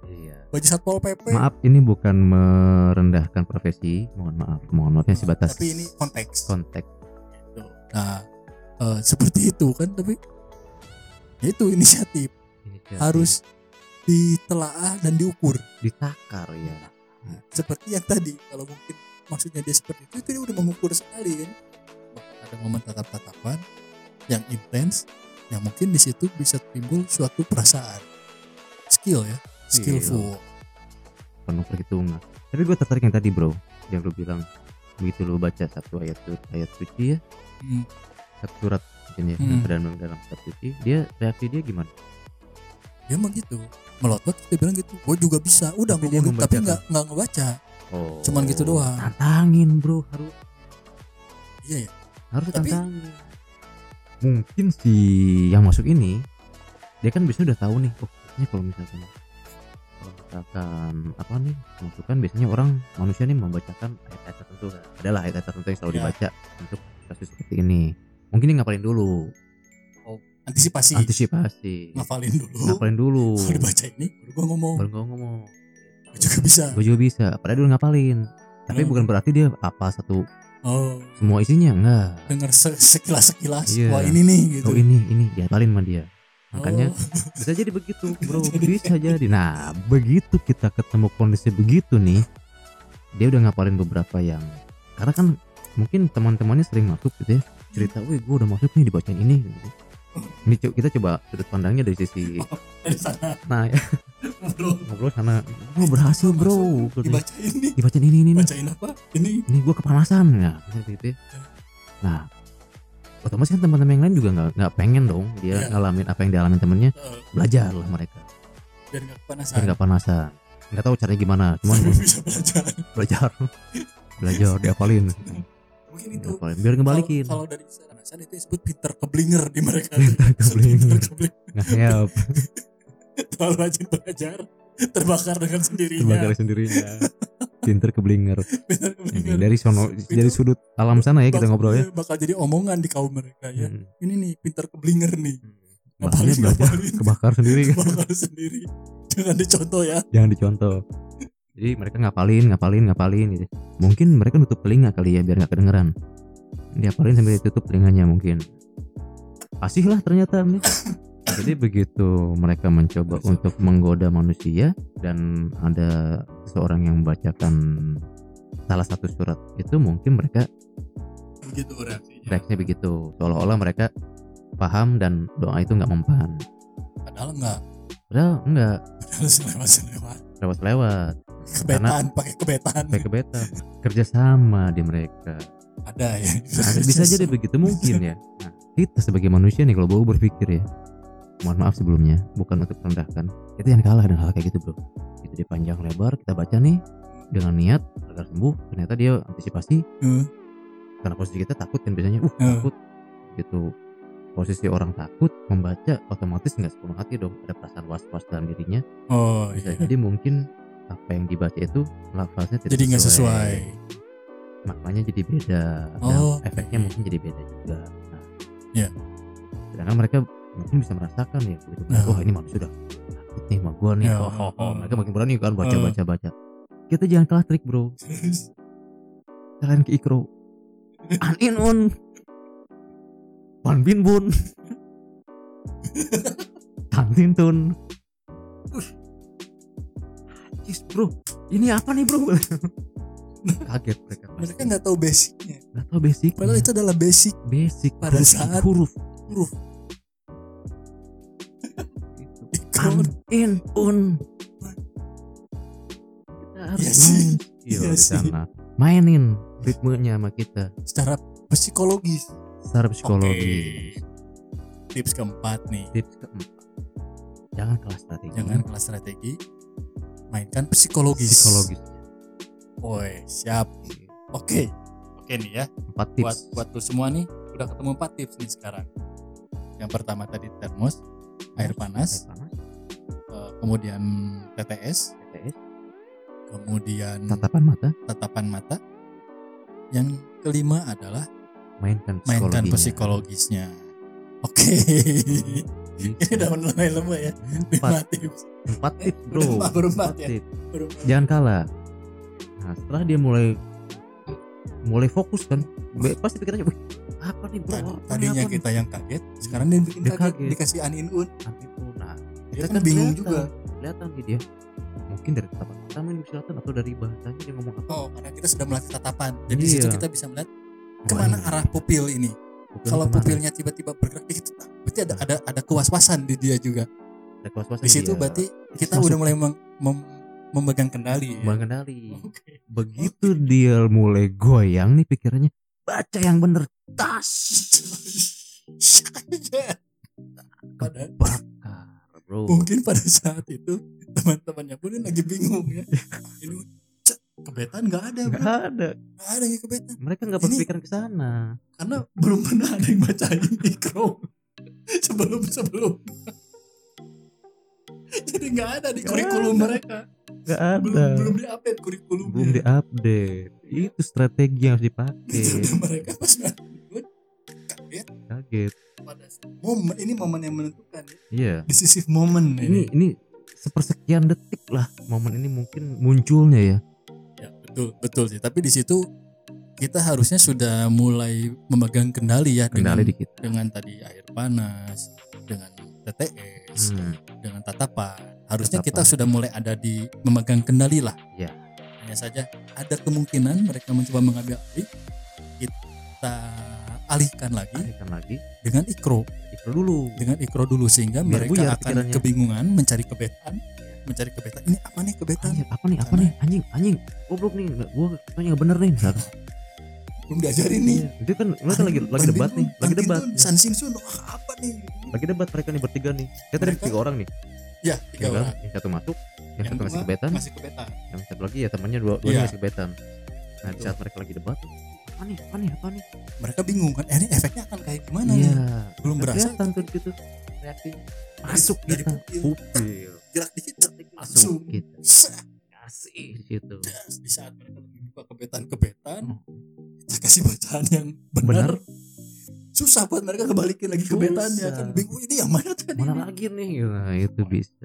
B: Iya.
A: baju satpol pp
B: Maaf, ini bukan merendahkan profesi. Mohon maaf, mohon maafnya sebatas
A: tapi ini konteks
B: kontak.
A: Gitu. nah eh, seperti itu kan tapi ya itu inisiatif
B: Inisiatif.
A: harus ditelaah dan diukur
B: ditakar ya.
A: seperti yang tadi kalau mungkin maksudnya dia seperti itu itu dia udah mengukur sekali kan Bahkan ada momen tatap tatapan yang intens Nah mungkin di situ bisa timbul suatu perasaan skill ya,
B: Iya. Skill.
A: skillful.
B: penuh perhitungan gitu, tapi gue tertarik yang tadi bro yang lu bilang begitu lu baca satu ayat su- ayat suci ya
A: Hmm.
B: satu surat mungkin ya
A: Hmm.
B: dan dalam kitab suci dia reaksi dia gimana
A: Dia emang gitu melotot dia bilang gitu. Gue juga bisa. Udah
B: Tapi dia
A: ngomongin tapi
B: membacakan.
A: nggak nggak ngebaca.
B: oh
A: Cuman gitu doang.
B: tantangin bro harus
A: Iya ya.
B: harus
A: Tapi-
B: tantangin mungkin si yang masuk ini dia kan biasanya udah tahu nih oh ini kalau misalkan kalau misalkan apa nih masukan biasanya orang manusia nih membacakan ayat-ayat tertentu kan. adalah ayat-ayat tertentu yang selalu
A: Ya.
B: dibaca untuk kasus seperti ini mungkin dia ngapalin dulu
A: Antisipasi.
B: antisipasi
A: Ngafalin dulu.
B: ngapalin dulu
A: Kalau dibaca ini baru gue ngomong.
B: baru gua ngomong
A: Gue juga bisa.
B: gue juga bisa padahal dulu ngapalin tapi
A: Hmm.
B: bukan berarti dia apa satu
A: Oh,
B: semua isinya enggak
A: dengar se- sekilas-sekilas.
B: Hmm. Iya.
A: Wah ini nih gitu.
B: oh ini ini diapalin sama dia makanya
A: Oh,
B: bisa jadi begitu bro
A: Bisa jadi.
B: bisa jadi nah begitu kita ketemu kondisi begitu nih dia udah ngapalin beberapa yang karena kan mungkin teman-temannya sering masuk gitu ya cerita, wih gue udah masuk nih dibacain ini gitu. Ini co- kita coba sudut pandangnya dari sisi
A: dari sana
B: nah
A: ngobrol.
B: ngobrol sana gue berhasil bro
A: Masuk, Dibacain nih.
B: dibacain ini ini ini
A: Bacain apa? Ini.
B: ini gue kepanasan ya misalnya gitu ya. nah otomatis kan teman-teman yang lain juga nggak nggak pengen dong dia
A: Iya.
B: ngalamin apa yang dialamin temennya
A: eh,
B: belajar lah mereka
A: biar nggak kepanasan.
B: biar nggak panasan nggak tahu caranya gimana cuman
A: Tapi bisa belajar.
B: belajar belajar diapalin
A: Mungkin itu.
B: diapalin biar ngebalikin
A: Kalau, kalau dari kepanasan itu disebut pinter keblinger di mereka.
B: Pinter keblinger.
A: Pinter keblinger.
B: nggak
A: Iya.
B: help
A: Terlalu rajin belajar. Terbakar dengan sendirinya.
B: terbakar sendirinya ya. pinter keblinger
A: Pinter keblinger.
B: Ini dari sono
A: Iya. Itu
B: dari sudut alam sana ya kita
A: bak-
B: ngobrol ya
A: Bakal jadi omongan di kaum mereka ya.
B: Hmm.
A: Ini nih pinter keblinger nih.
B: Bahasanya belajar
A: ngapalin.
B: kebakar sendiri
A: bakar sendiri jangan dicontoh ya
B: jangan dicontoh jadi mereka ngapalin ngapalin ngapalin gitu mungkin mereka nutup telinga kali ya biar nggak kedengeran diapalin sambil ditutup telinganya mungkin asih lah ternyata nih jadi begitu mereka mencoba untuk menggoda manusia dan ada seseorang yang membacakan salah satu surat itu mungkin mereka
A: begitu reaksinya
B: reaksinya begitu seolah-olah mereka paham dan doa itu nggak mempan
A: padahal enggak
B: padahal enggak
A: padahal selewat selewat
B: lewat-lewat
A: kebetaan pakai kebetaan
B: kayak kebetan kerjasama di mereka
A: ada ya
B: Nah, bisa jadi begitu mungkin ya. Nah, kita sebagai manusia nih kalau bau berpikir ya. Mohon maaf sebelumnya, bukan untuk merendahkan. Kita yang kalah dengan hal kayak gitu, Bro. Itu di panjang lebar kita baca nih dengan niat agar sembuh. Ternyata dia antisipasi
A: Hmm.
B: karena posisi kita takut kan biasanya. Uh,
A: Hmm.
B: takut. Gitu. Posisi orang takut membaca otomatis nggak sepenuh hati dong. Ada perasaan was-was dalam dirinya.
A: oh
B: Bisa
A: iya.
B: jadi mungkin apa yang dibaca itu lafaznya tidak
A: jadi nggak sesuai
B: maknanya jadi beda
A: Oh,
B: dan efeknya
A: oke.
B: mungkin jadi beda juga. Nah,
A: Ya.
B: Sedangkan mereka mungkin bisa merasakan ya, gitu.
A: Nah.
B: wah ini manusia udah takut nih sama gua nih,
A: Ya. Eh.
B: oh, oh, oh. mereka makin berani kan baca baca baca. Kita jangan kalah trik bro,
A: Terus,
B: kalian ke ikro, an in un, pan bin bun, kang tin tun. Uh, Yes bro, ini apa nih bro? Kaget mereka.
A: mereka nggak tahu basicnya
B: Nggak tahu basic.
A: padahal itu adalah basic
B: basic
A: Pada
B: huruf-
A: saat-
B: huruf
A: huruf
B: an Gitu.
A: Ikon.
B: in un kita harus
A: Iya sih.
B: main skill
A: Iya sih.
B: di sana mainin ritmenya sama kita
A: secara psikologis
B: secara psikologi
A: Oke. tips keempat nih
B: tips keempat jangan kelas strategi
A: jangan kelas strategi mainkan psikologis
B: psikologis
A: Woi, siap oke oke nih ya
B: empat tips
A: buat buat lu semua nih udah ketemu empat tips nih sekarang yang pertama tadi termos air panas
B: Air panas,
A: eh, kemudian TTS
B: TTS,
A: kemudian
B: tatapan mata
A: tatapan mata yang kelima adalah
B: mainkan psikologinya Gitu.
A: mainkan psikologisnya oke
B: Hmm.
A: ini udah mulai lemah ya lima
B: empat
A: tips
B: empat tips
A: Eh,
B: bro
A: udah empat, baru empat ya.
B: tips.
A: Baru mulai.
B: jangan kalah nah setelah dia mulai mulai fokus kan be- pasti pikirannya "Wih, apa nih bro
A: Tadi-
B: Apa nih,
A: tadinya
B: apa nih?"
A: kita yang kaget sekarang dia bikin
B: Dia
A: kaget,
B: kaget.
A: dikasih anin un
B: Nah, itu. nah
A: dia kan bingung
B: kelihatan-
A: juga
B: kelihatan nih dia mungkin dari tatapan mata mungkin kelihatan atau dari bahasanya dia ngomong apa
A: oh karena kita sudah melatih tatapan jadi di situ
B: Iya.
A: kita bisa melihat kemana
B: Wah,
A: arah pupil ini
B: Pupil
A: kalau
B: kemana?
A: pupilnya tiba-tiba bergerak dikit nah, berarti ada ada ada kewaspasan di dia juga
B: Ada kewas-kewasan
A: di situ
B: dia.
A: berarti kita
B: Masuk.
A: udah mulai meng- mem- memegang kendali ya.
B: mengenali
A: Oke.
B: begitu dia mulai goyang nih pikirannya baca yang bener tas
A: Padahal-
B: kebakar bro
A: mungkin pada saat itu teman-temannya pun lagi bingung ya ini cet, kebetan nggak ada bro.
B: nggak ada
A: nggak ada yang kebetan
B: mereka nggak
A: Ini-
B: berpikiran ke sana
A: karena belum pernah ada yang bacain mikro sebelum sebelum jadi nggak ada di
B: Nggak
A: kurikulum
B: ada.
A: mereka
B: nggak
A: belum
B: ada
A: belum diupdate kurikulum
B: belum diupdate itu strategi yang harus dipakai
A: mereka pas ngeliat, kaget
B: kaget
A: pada saat- momen ini momen yang menentukan ya.
B: iya
A: decisive moment
B: ini ini sepersekian detik lah momen ini mungkin munculnya ya
A: Ya, betul, betul sih. Tapi di situ kita harusnya sudah mulai memegang kendali ya dengan,
B: kendali dikit
A: dengan tadi air panas, dengan TTS,
B: Hmm,
A: dengan tatapan. Harusnya kita
B: Tatapan.
A: sudah mulai ada di memegang kendali lah.
B: Ya.
A: Hanya saja ada kemungkinan mereka mencoba mengambil alih, kita alihkan lagi
B: alihkan lagi
A: dengan ikro,
B: itu dulu
A: dengan ikro dulu sehingga
B: Biar
A: mereka
B: buyar
A: akan
B: pikirannya.
A: kebingungan mencari kebetan, mencari kebetan. Ini apa nih kebetan?
B: Anjir, apa nih apa nih anjing anjing goblok nih nggak- gua tanya nggak bener nih misalkan
A: Belum diajarin nih.
B: Iya, Dia kan mereka lagi lagi
A: Bandung,
B: debat nih, lagi
A: Bandung
B: debat.
A: tuh, San Simpson, wah, apa nih?
B: Lagi debat mereka nih bertiga nih. Saya tadi
A: Mereka-
B: tiga orang nih.
A: Ya, tiga
B: Tiga
A: orang.
B: orang. Yang satu masuk, yang,
A: dua
B: satu masih Iya, kan? kebetan,
A: Masih kebetan.
B: yang satu lagi ya temannya dua dua
A: Iya.
B: masih kebetan. Nah, di saat mereka lagi debat, apa nih? Apa nih? Apa nih?
A: Mereka bingung kan, eh, ini efeknya akan kayak gimana
B: Iya.
A: nih? Belum berasa.
B: Kelihatan tuh gitu reaksinya. Masuk
A: dari
B: kita
A: pupil.
B: pupil.
A: Gerak dikit, cet,
B: Masuk Gitu.
A: langsung.
B: kita.
A: Sah.
B: Kasih gitu.
A: Das. Di saat mereka lagi buka kebetan-kebetan,
B: Hmm.
A: kita kasih bacaan yang benar.
B: Benar.
A: Susah buat mereka kebalikin lagi
B: Susah.
A: kebetannya kan bingung ini yang mana tadi?
B: Mana lagi nih? Nah, itu bisa.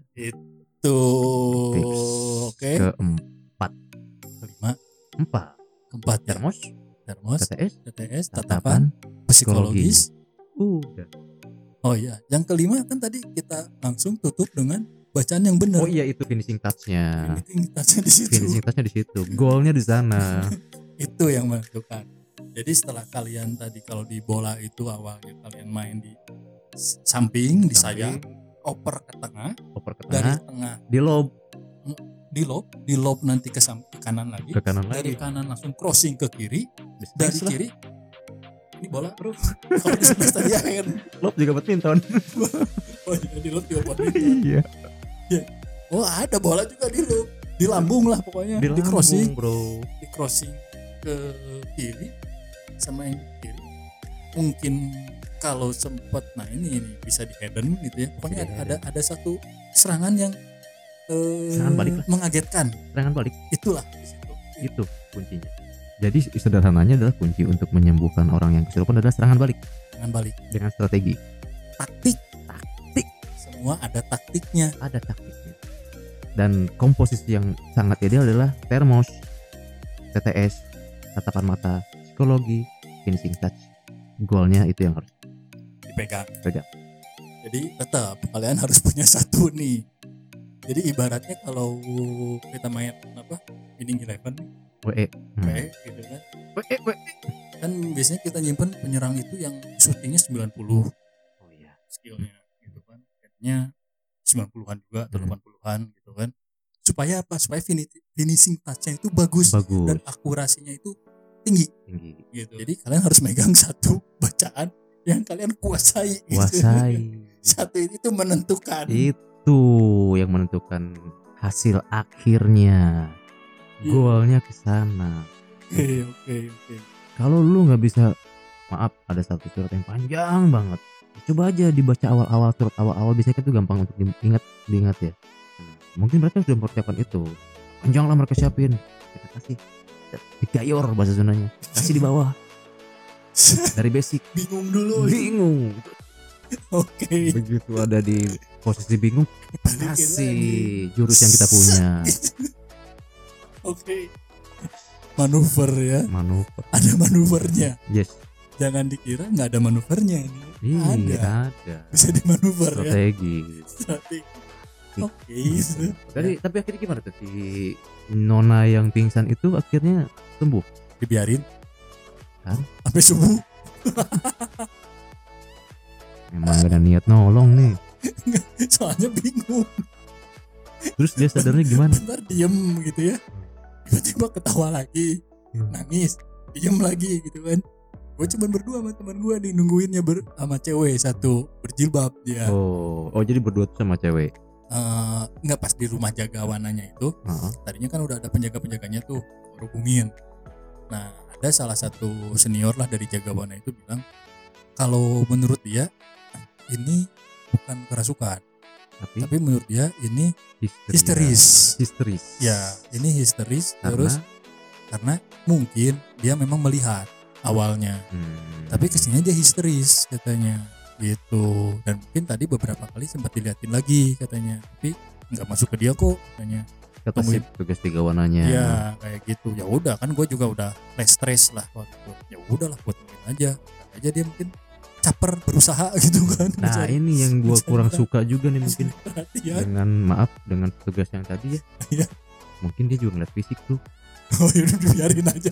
A: Tuh,
B: Tips
A: Oh, oke.
B: keempat.
A: Kelima,
B: Empat.
A: keempat ya.
B: Termos,
A: Termos,
B: TTS,
A: TTS, tatapan,
B: tatapan,
A: psikologis,
B: udah.
A: Oh iya, yang kelima kan tadi kita langsung tutup dengan bacaan yang benar.
B: Oh iya itu finishing touchnya.
A: Finishing touch-nya di situ.
B: Finishing touchnya di situ. Golnya di sana.
A: Itu yang menentukan. Jadi setelah kalian tadi kalau di bola itu awalnya kalian main di s- samping, di sayap, oper ke tengah,
B: Oper ke
A: dari
B: tengah,
A: tengah
B: di lob
A: di lob, di lob nanti ke, sam- ke kanan lagi,
B: ke kanan
A: dari
B: lagi.
A: kanan langsung crossing ke kiri,
B: Di space
A: dari
B: lah.
A: kiri ini bola bro. Kalau di sebelah tadi akhir.
B: Lob juga badminton.
A: Oh iya, di lob juga buat itu.
B: Iya.
A: Oh ada bola juga di lob, di lambung lah pokoknya,
B: Di
A: di crossing.
B: lambung, bro.
A: di crossing ke kiri sama yang ke kiri mungkin kalau sempat nah ini ini bisa di hidden gitu ya pokoknya
B: di
A: ada, ada ada satu serangan yang eh,
B: Serangan balik lah.
A: mengagetkan
B: Serangan balik
A: itulah di situ
B: itu kuncinya. Jadi sederhananya adalah kunci untuk menyembuhkan orang yang kesurupan adalah serangan balik
A: serangan balik
B: dengan strategi.
A: taktik taktik semua ada taktiknya
B: Ada taktiknya. Dan komposisi yang sangat ideal adalah termos, TTS, tatapan mata, psikologi, finishing touch. Golnya itu yang harus
A: dipegang
B: Pegang.
A: jadi tetap kalian harus punya satu nih jadi ibaratnya kalau kita main apa Winning Eleven
B: WE. Hmm.
A: kayak gitu kan kan biasanya kita nyimpen penyerang itu yang syutingnya 90
B: Oh iya.
A: skillnya gitu kan kayaknya 90-an juga atau
B: Hmm.
A: 80-an gitu kan supaya apa supaya fini- finishing touch-nya itu bagus,
B: Bagus.
A: dan akurasinya itu tinggi
B: Tinggi.
A: gitu jadi kalian harus megang satu bacaan yang kalian kuasai gitu.
B: Kuasai. Iya.
A: satu ini tuh menentukan
B: Itu yang menentukan hasil akhirnya.
A: Iya.
B: Golnya ke sana.
A: oke oke oke
B: Kalau lu nggak bisa maaf ada satu surat yang panjang banget. Coba aja dibaca awal-awal surat awal-awal biasanya kan itu gampang untuk diingat diingat ya.
A: Hmm.
B: Nah, mungkin mereka sudah mempersiapkan itu. Panjang lah mereka siapin. Kita kasih digayor bahasa Sundanya. Kasih di bawah dari basic.
A: bingung dulu oke
B: Bingung. Begitu ada di posisi bingung
A: balikin lagi.
B: kasih jurus yang kita punya
A: oke manuver ya
B: manuver
A: ada manuvernya
B: yes
A: jangan dikira nggak ada manuvernya ini
B: Ih,
A: ada
B: ada,
A: bisa dimanuver ya
B: strategi
A: strategi
B: Gitu.
A: oke itu.
B: Tadi, tapi akhirnya gimana tuh si nona yang pingsan itu akhirnya sembuh
A: dibiarin
B: Hah?
A: sampai subuh
B: emang gak ada niat nolong nih
A: soalnya bingung
B: terus dia sadarnya gimana
A: bentar diem gitu ya tiba-tiba ketawa lagi
B: Hmm.
A: nangis diem lagi gitu kan gue cuman berdua sama teman gue nih nungguinnya ber sama cewek satu berjilbab dia
B: oh oh jadi berdua tuh sama cewek
A: Eh, nggak pas di rumah jaga wananya itu
B: Heeh.
A: tadinya kan udah ada penjaga penjaganya tuh hubungin nah ada salah satu senior lah dari jagawana itu bilang kalau menurut dia ini bukan kerasukan
B: Hmm. tapi,
A: tapi menurut dia ini
B: histeria.
A: histeris
B: histeris
A: ya ini histeris
B: Karena-
A: terus karena mungkin dia memang melihat awalnya
B: Hmm.
A: tapi kesini dia histeris katanya gitu dan mungkin tadi beberapa kali sempat diliatin lagi katanya tapi nggak masuk ke dia kok katanya
B: kata si tugas tiga warnanya
A: ya kayak gitu ya udah kan gue juga udah less stress lah waktu itu ya udahlah buat mungkin aja aja dia mungkin caper berusaha gitu kan
B: nah
A: mencari-
B: ini yang gua
A: mencari
B: kurang suka juga nih mungkin
A: perhatian
B: dengan maaf dengan petugas yang tadi ya
A: Iya.
B: mungkin dia juga ngeliat fisik tuh
A: oh ya udah biarin aja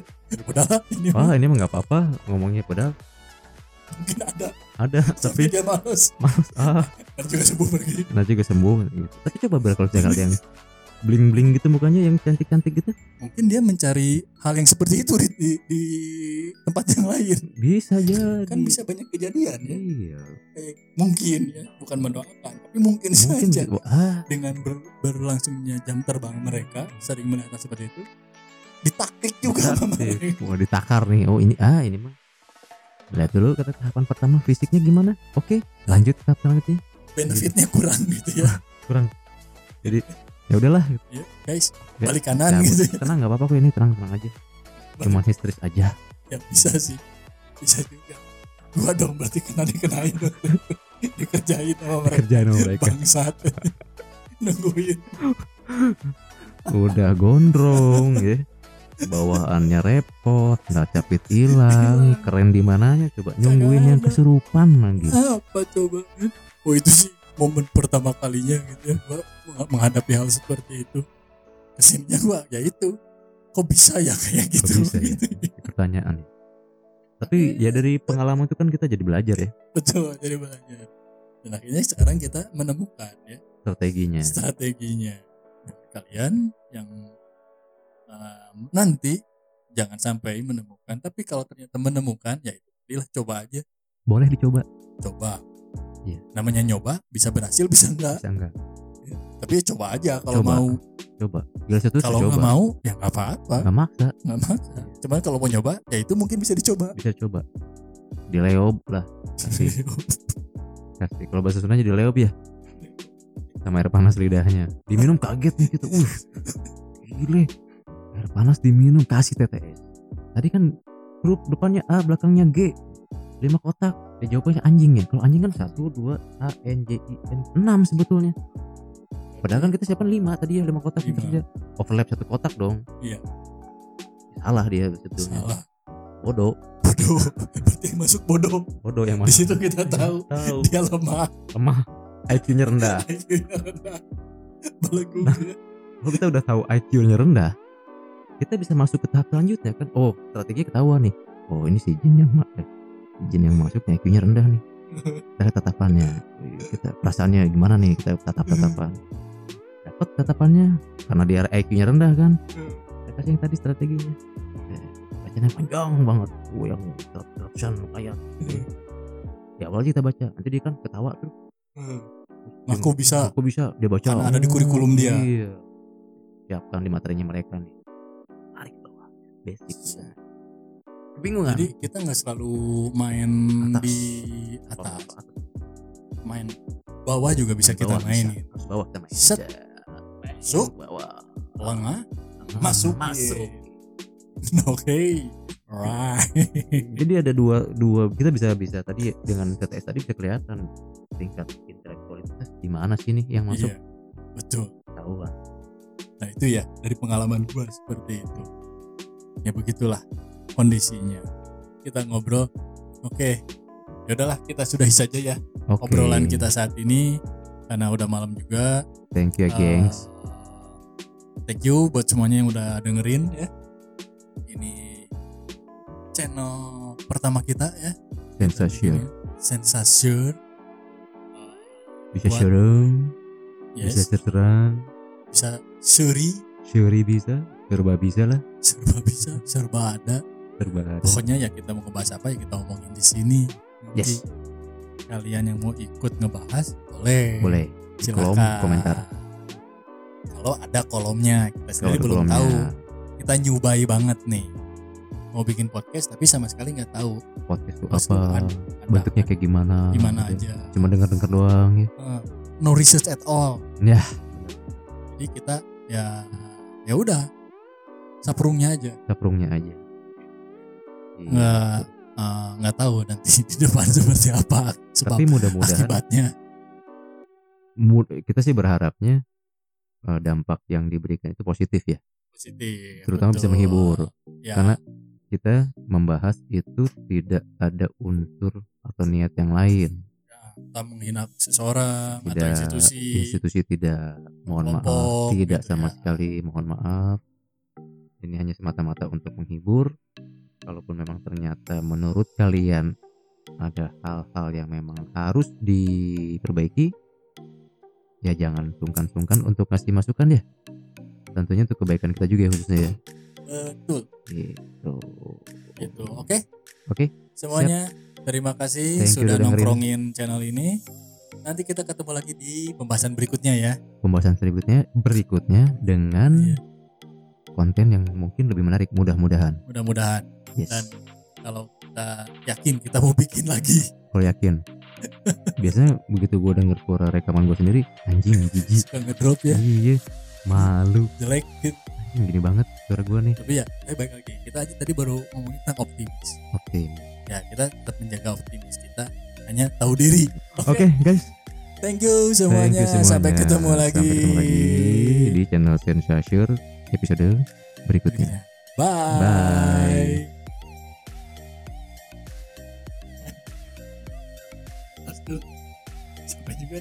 A: udah ini
B: wah Ah, ini mah nggak apa-apa ngomongnya padahal
A: mungkin ada
B: ada
A: tapi
B: tapi
A: dia males
B: males ah
A: dan juga sembuh pergi
B: nah juga sembuh gitu. tapi coba ber kalau misalnya ada yang bling bling gitu mukanya yang cantik cantik gitu
A: mungkin dia mencari hal yang seperti itu Rit, di, di tempat yang lain
B: bisa jadi
A: kan bisa banyak kejadian ya
B: iya
A: mungkin ya bukan mendoakan tapi mungkin,
B: mungkin
A: saja
B: gitu. ah
A: dengan ber- berlangsungnya jam terbang mereka sering melihat seperti itu ditaktik juga sama
B: aktif.
A: mereka
B: wah ditakar nih oh ini ah ini mah lihat dulu kata tahapan pertama fisiknya gimana oke lanjut tahap selanjutnya
A: benefitnya kurang gitu ya
B: ya udahlah gitu.
A: Ya, guys
B: Ya,
A: balik kanan
B: cabut.
A: gitu ya.
B: tenang nggak apa-apa kok ini tenang tenang aja cuman histeris aja
A: ya bisa sih bisa juga gua dong berarti kena dikenain dikerjain sama mereka
B: kerjaan sama mereka
A: bangsat nungguin
B: udah gondrong ya bawaannya repot nggak capit
A: Iya.
B: hilang keren di mananya coba nyungguin yang kesurupan lagi
A: apa coba oh itu sih momen pertama kalinya gitu ya gua meng- menghadapi hal seperti itu kesininya gua ya itu kok bisa ya kayak
B: Kok
A: gitu
B: bisa ya?
A: gitu.
B: pertanyaan tapi ya dari pengalaman itu kan kita jadi belajar ya
A: betul jadi belajar dan akhirnya sekarang kita menemukan ya
B: strateginya
A: strateginya Nah, kalian yang um, nanti jangan sampai menemukan tapi kalau ternyata menemukan ya itu tadilah, coba aja
B: boleh dicoba
A: coba
B: Iya.
A: namanya nyoba bisa berhasil bisa enggak
B: bisa nggak
A: tapi ya coba aja kalau
B: Coba.
A: mau
B: coba gila satu
A: kalau
B: coba
A: nggak mau ya nggak apa-apa
B: nggak maksa
A: nggak maksa cuman kalau mau nyoba ya itu mungkin bisa dicoba
B: bisa coba di leob lah Kasih. kasih kalau bahasa Sundanya di leob ya sama air panas lidahnya diminum kaget nih gitu uh gile air panas diminum kasih TTS tadi kan huruf depannya A belakangnya G lima kotak ya jawabannya anjing ya kalau anjing kan satu dua A N J I N enam sebetulnya padahal kan kita siapkan lima tadi ya lima kotak
A: Lima.
B: kerja overlap satu kotak dong
A: Iya.
B: salah dia sebetulnya
A: salah
B: bodoh
A: bodoh berarti yang masuk bodoh
B: bodoh yang
A: di
B: masuk
A: situ kita tahu
B: tahu
A: dia lemah
B: lemah IQ-nya rendah
A: IQ-nya rendah belagu
B: kalau kita udah tahu IQ-nya rendah, kita bisa masuk ke tahap selanjutnya kan. Oh, strategi ketahuan nih. Oh, ini si jin yang ma- eh, jin yang masuk IQ-nya rendah nih. Kita lihat tatapannya, kita perasaannya gimana nih? Kita tatap tatapan. Dapat tatapannya karena dia IQ-nya rendah kan. Kita kasih yang tadi strateginya. Eh, Bacanya panjang banget, oh, yang interruption kayak. Di awal aja kita baca, nanti dia kan ketawa terus. Nah.
A: aku bisa
B: Aku bisa dia baca.
A: Karena ada di kurikulum dia.
B: Iya. Siapkan di materinya mereka nih. Tarik ke bawah. Basic. kan? Nah. Kebingungan.
A: jadi kita nggak selalu main
B: Atas.
A: di
B: Bawah,
A: atas
B: atas,
A: main bawah juga bisa kita
B: bawah,
A: mainin
B: bisa. Harus bawah kita main.
A: Set.
B: Ja. Main
A: Masuk.
B: Bawah.
A: lengah
B: Tengah.
A: Masuk.
B: Masuk.
A: oke right
B: Jadi ada dua dua kita bisa bisa tadi dengan TTS tadi bisa kelihatan tingkat intelektualitas di mana sih nih yang masuk kan?
A: iya betul
B: ketahuan.
A: Nah itu ya dari pengalaman gua seperti itu. Ya begitulah kondisinya. Kita ngobrol. Oke, yaudahlah kita sudahi saja ya
B: Oke.
A: obrolan kita saat ini karena udah malam juga.
B: Thank you,
A: Eh,
B: gengs.
A: Thank you buat semuanya yang udah dengerin ya. Ini channel pertama kita ya.
B: Sensation.
A: Sensasiun
B: bisa
A: Buat-
B: serem bisa
A: Yes,
B: terserang
A: bisa suri,
B: Syuri bisa serba bisa lah
A: serba bisa, serba ada.
B: serba ada.
A: Pokoknya ya kita mau ngebahas apa ya kita omongin di sini. Nanti
B: Yes.
A: Kalian yang mau ikut ngebahas boleh.
B: boleh di kolom
A: Silakan.
B: komentar
A: Kalau ada kolomnya, kita
B: kalau
A: sendiri
B: ada
A: belum
B: kolomnya
A: tahu. Kita nyubai banget nih. Mau bikin podcast tapi sama sekali nggak tahu
B: podcast itu
A: Terus
B: apa
A: ada- ada
B: bentuknya
A: apa,
B: kayak gimana
A: gimana
B: gitu.
A: aja.
B: cuma dengar dengar doang ya
A: Eh, no research at all.
B: Yah.
A: Jadi kita ya ya udah saprungnya aja.
B: saprungnya aja Iya.
A: nggak eh, nggak tahu nanti di depan seperti apa sebab
B: Iya, tapi mudah-mudahan
A: akibatnya
B: mu- kita sih berharapnya eh, dampak yang diberikan itu positif ya
A: positif
B: Terutama bisa menghibur.
A: ya,
B: karena kita membahas itu tidak ada unsur atau niat yang lain
A: ya, kita menghina seseorang atau
B: tidak
A: institusi
B: institusi tidak mohon
A: Kelompok,
B: maaf tidak
A: gitu
B: sama
A: ya.
B: sekali mohon maaf ini hanya semata-mata untuk menghibur kalaupun memang ternyata menurut kalian ada hal-hal yang memang harus diperbaiki ya jangan sungkan-sungkan untuk kasih masukan ya tentunya untuk kebaikan kita juga ya khususnya ya
A: betul
B: gitu
A: gitu oke
B: Oke.
A: semuanya terima kasih
B: Thank you
A: sudah
B: udah dengerin.
A: nongkrongin channel ini nanti kita ketemu lagi di pembahasan berikutnya ya
B: pembahasan berikutnya berikutnya dengan
A: Iya.
B: konten yang mungkin lebih menarik mudah-mudahan
A: mudah-mudahan
B: yes
A: dan kalau kita yakin kita mau bikin lagi
B: kalau yakin biasanya begitu gue denger suara rekaman gue sendiri anjing jijik
A: suka ngedrop ya
B: iya malu
A: jelek gitu.
B: anjing gini banget suara gue nih
A: tapi ya eh, baik lagi kita aja tadi baru ngomongin tentang optimis
B: oke
A: ya kita tetap menjaga optimis kita hanya tahu diri
B: oke guys
A: thank you
B: thank
A: semuanya,
B: you semuanya
A: sampai ketemu lagi,
B: sampai ketemu lagi di channel Sensasure episode berikutnya
A: Iya. bye,
B: Bye.
A: Aduh, sampai juga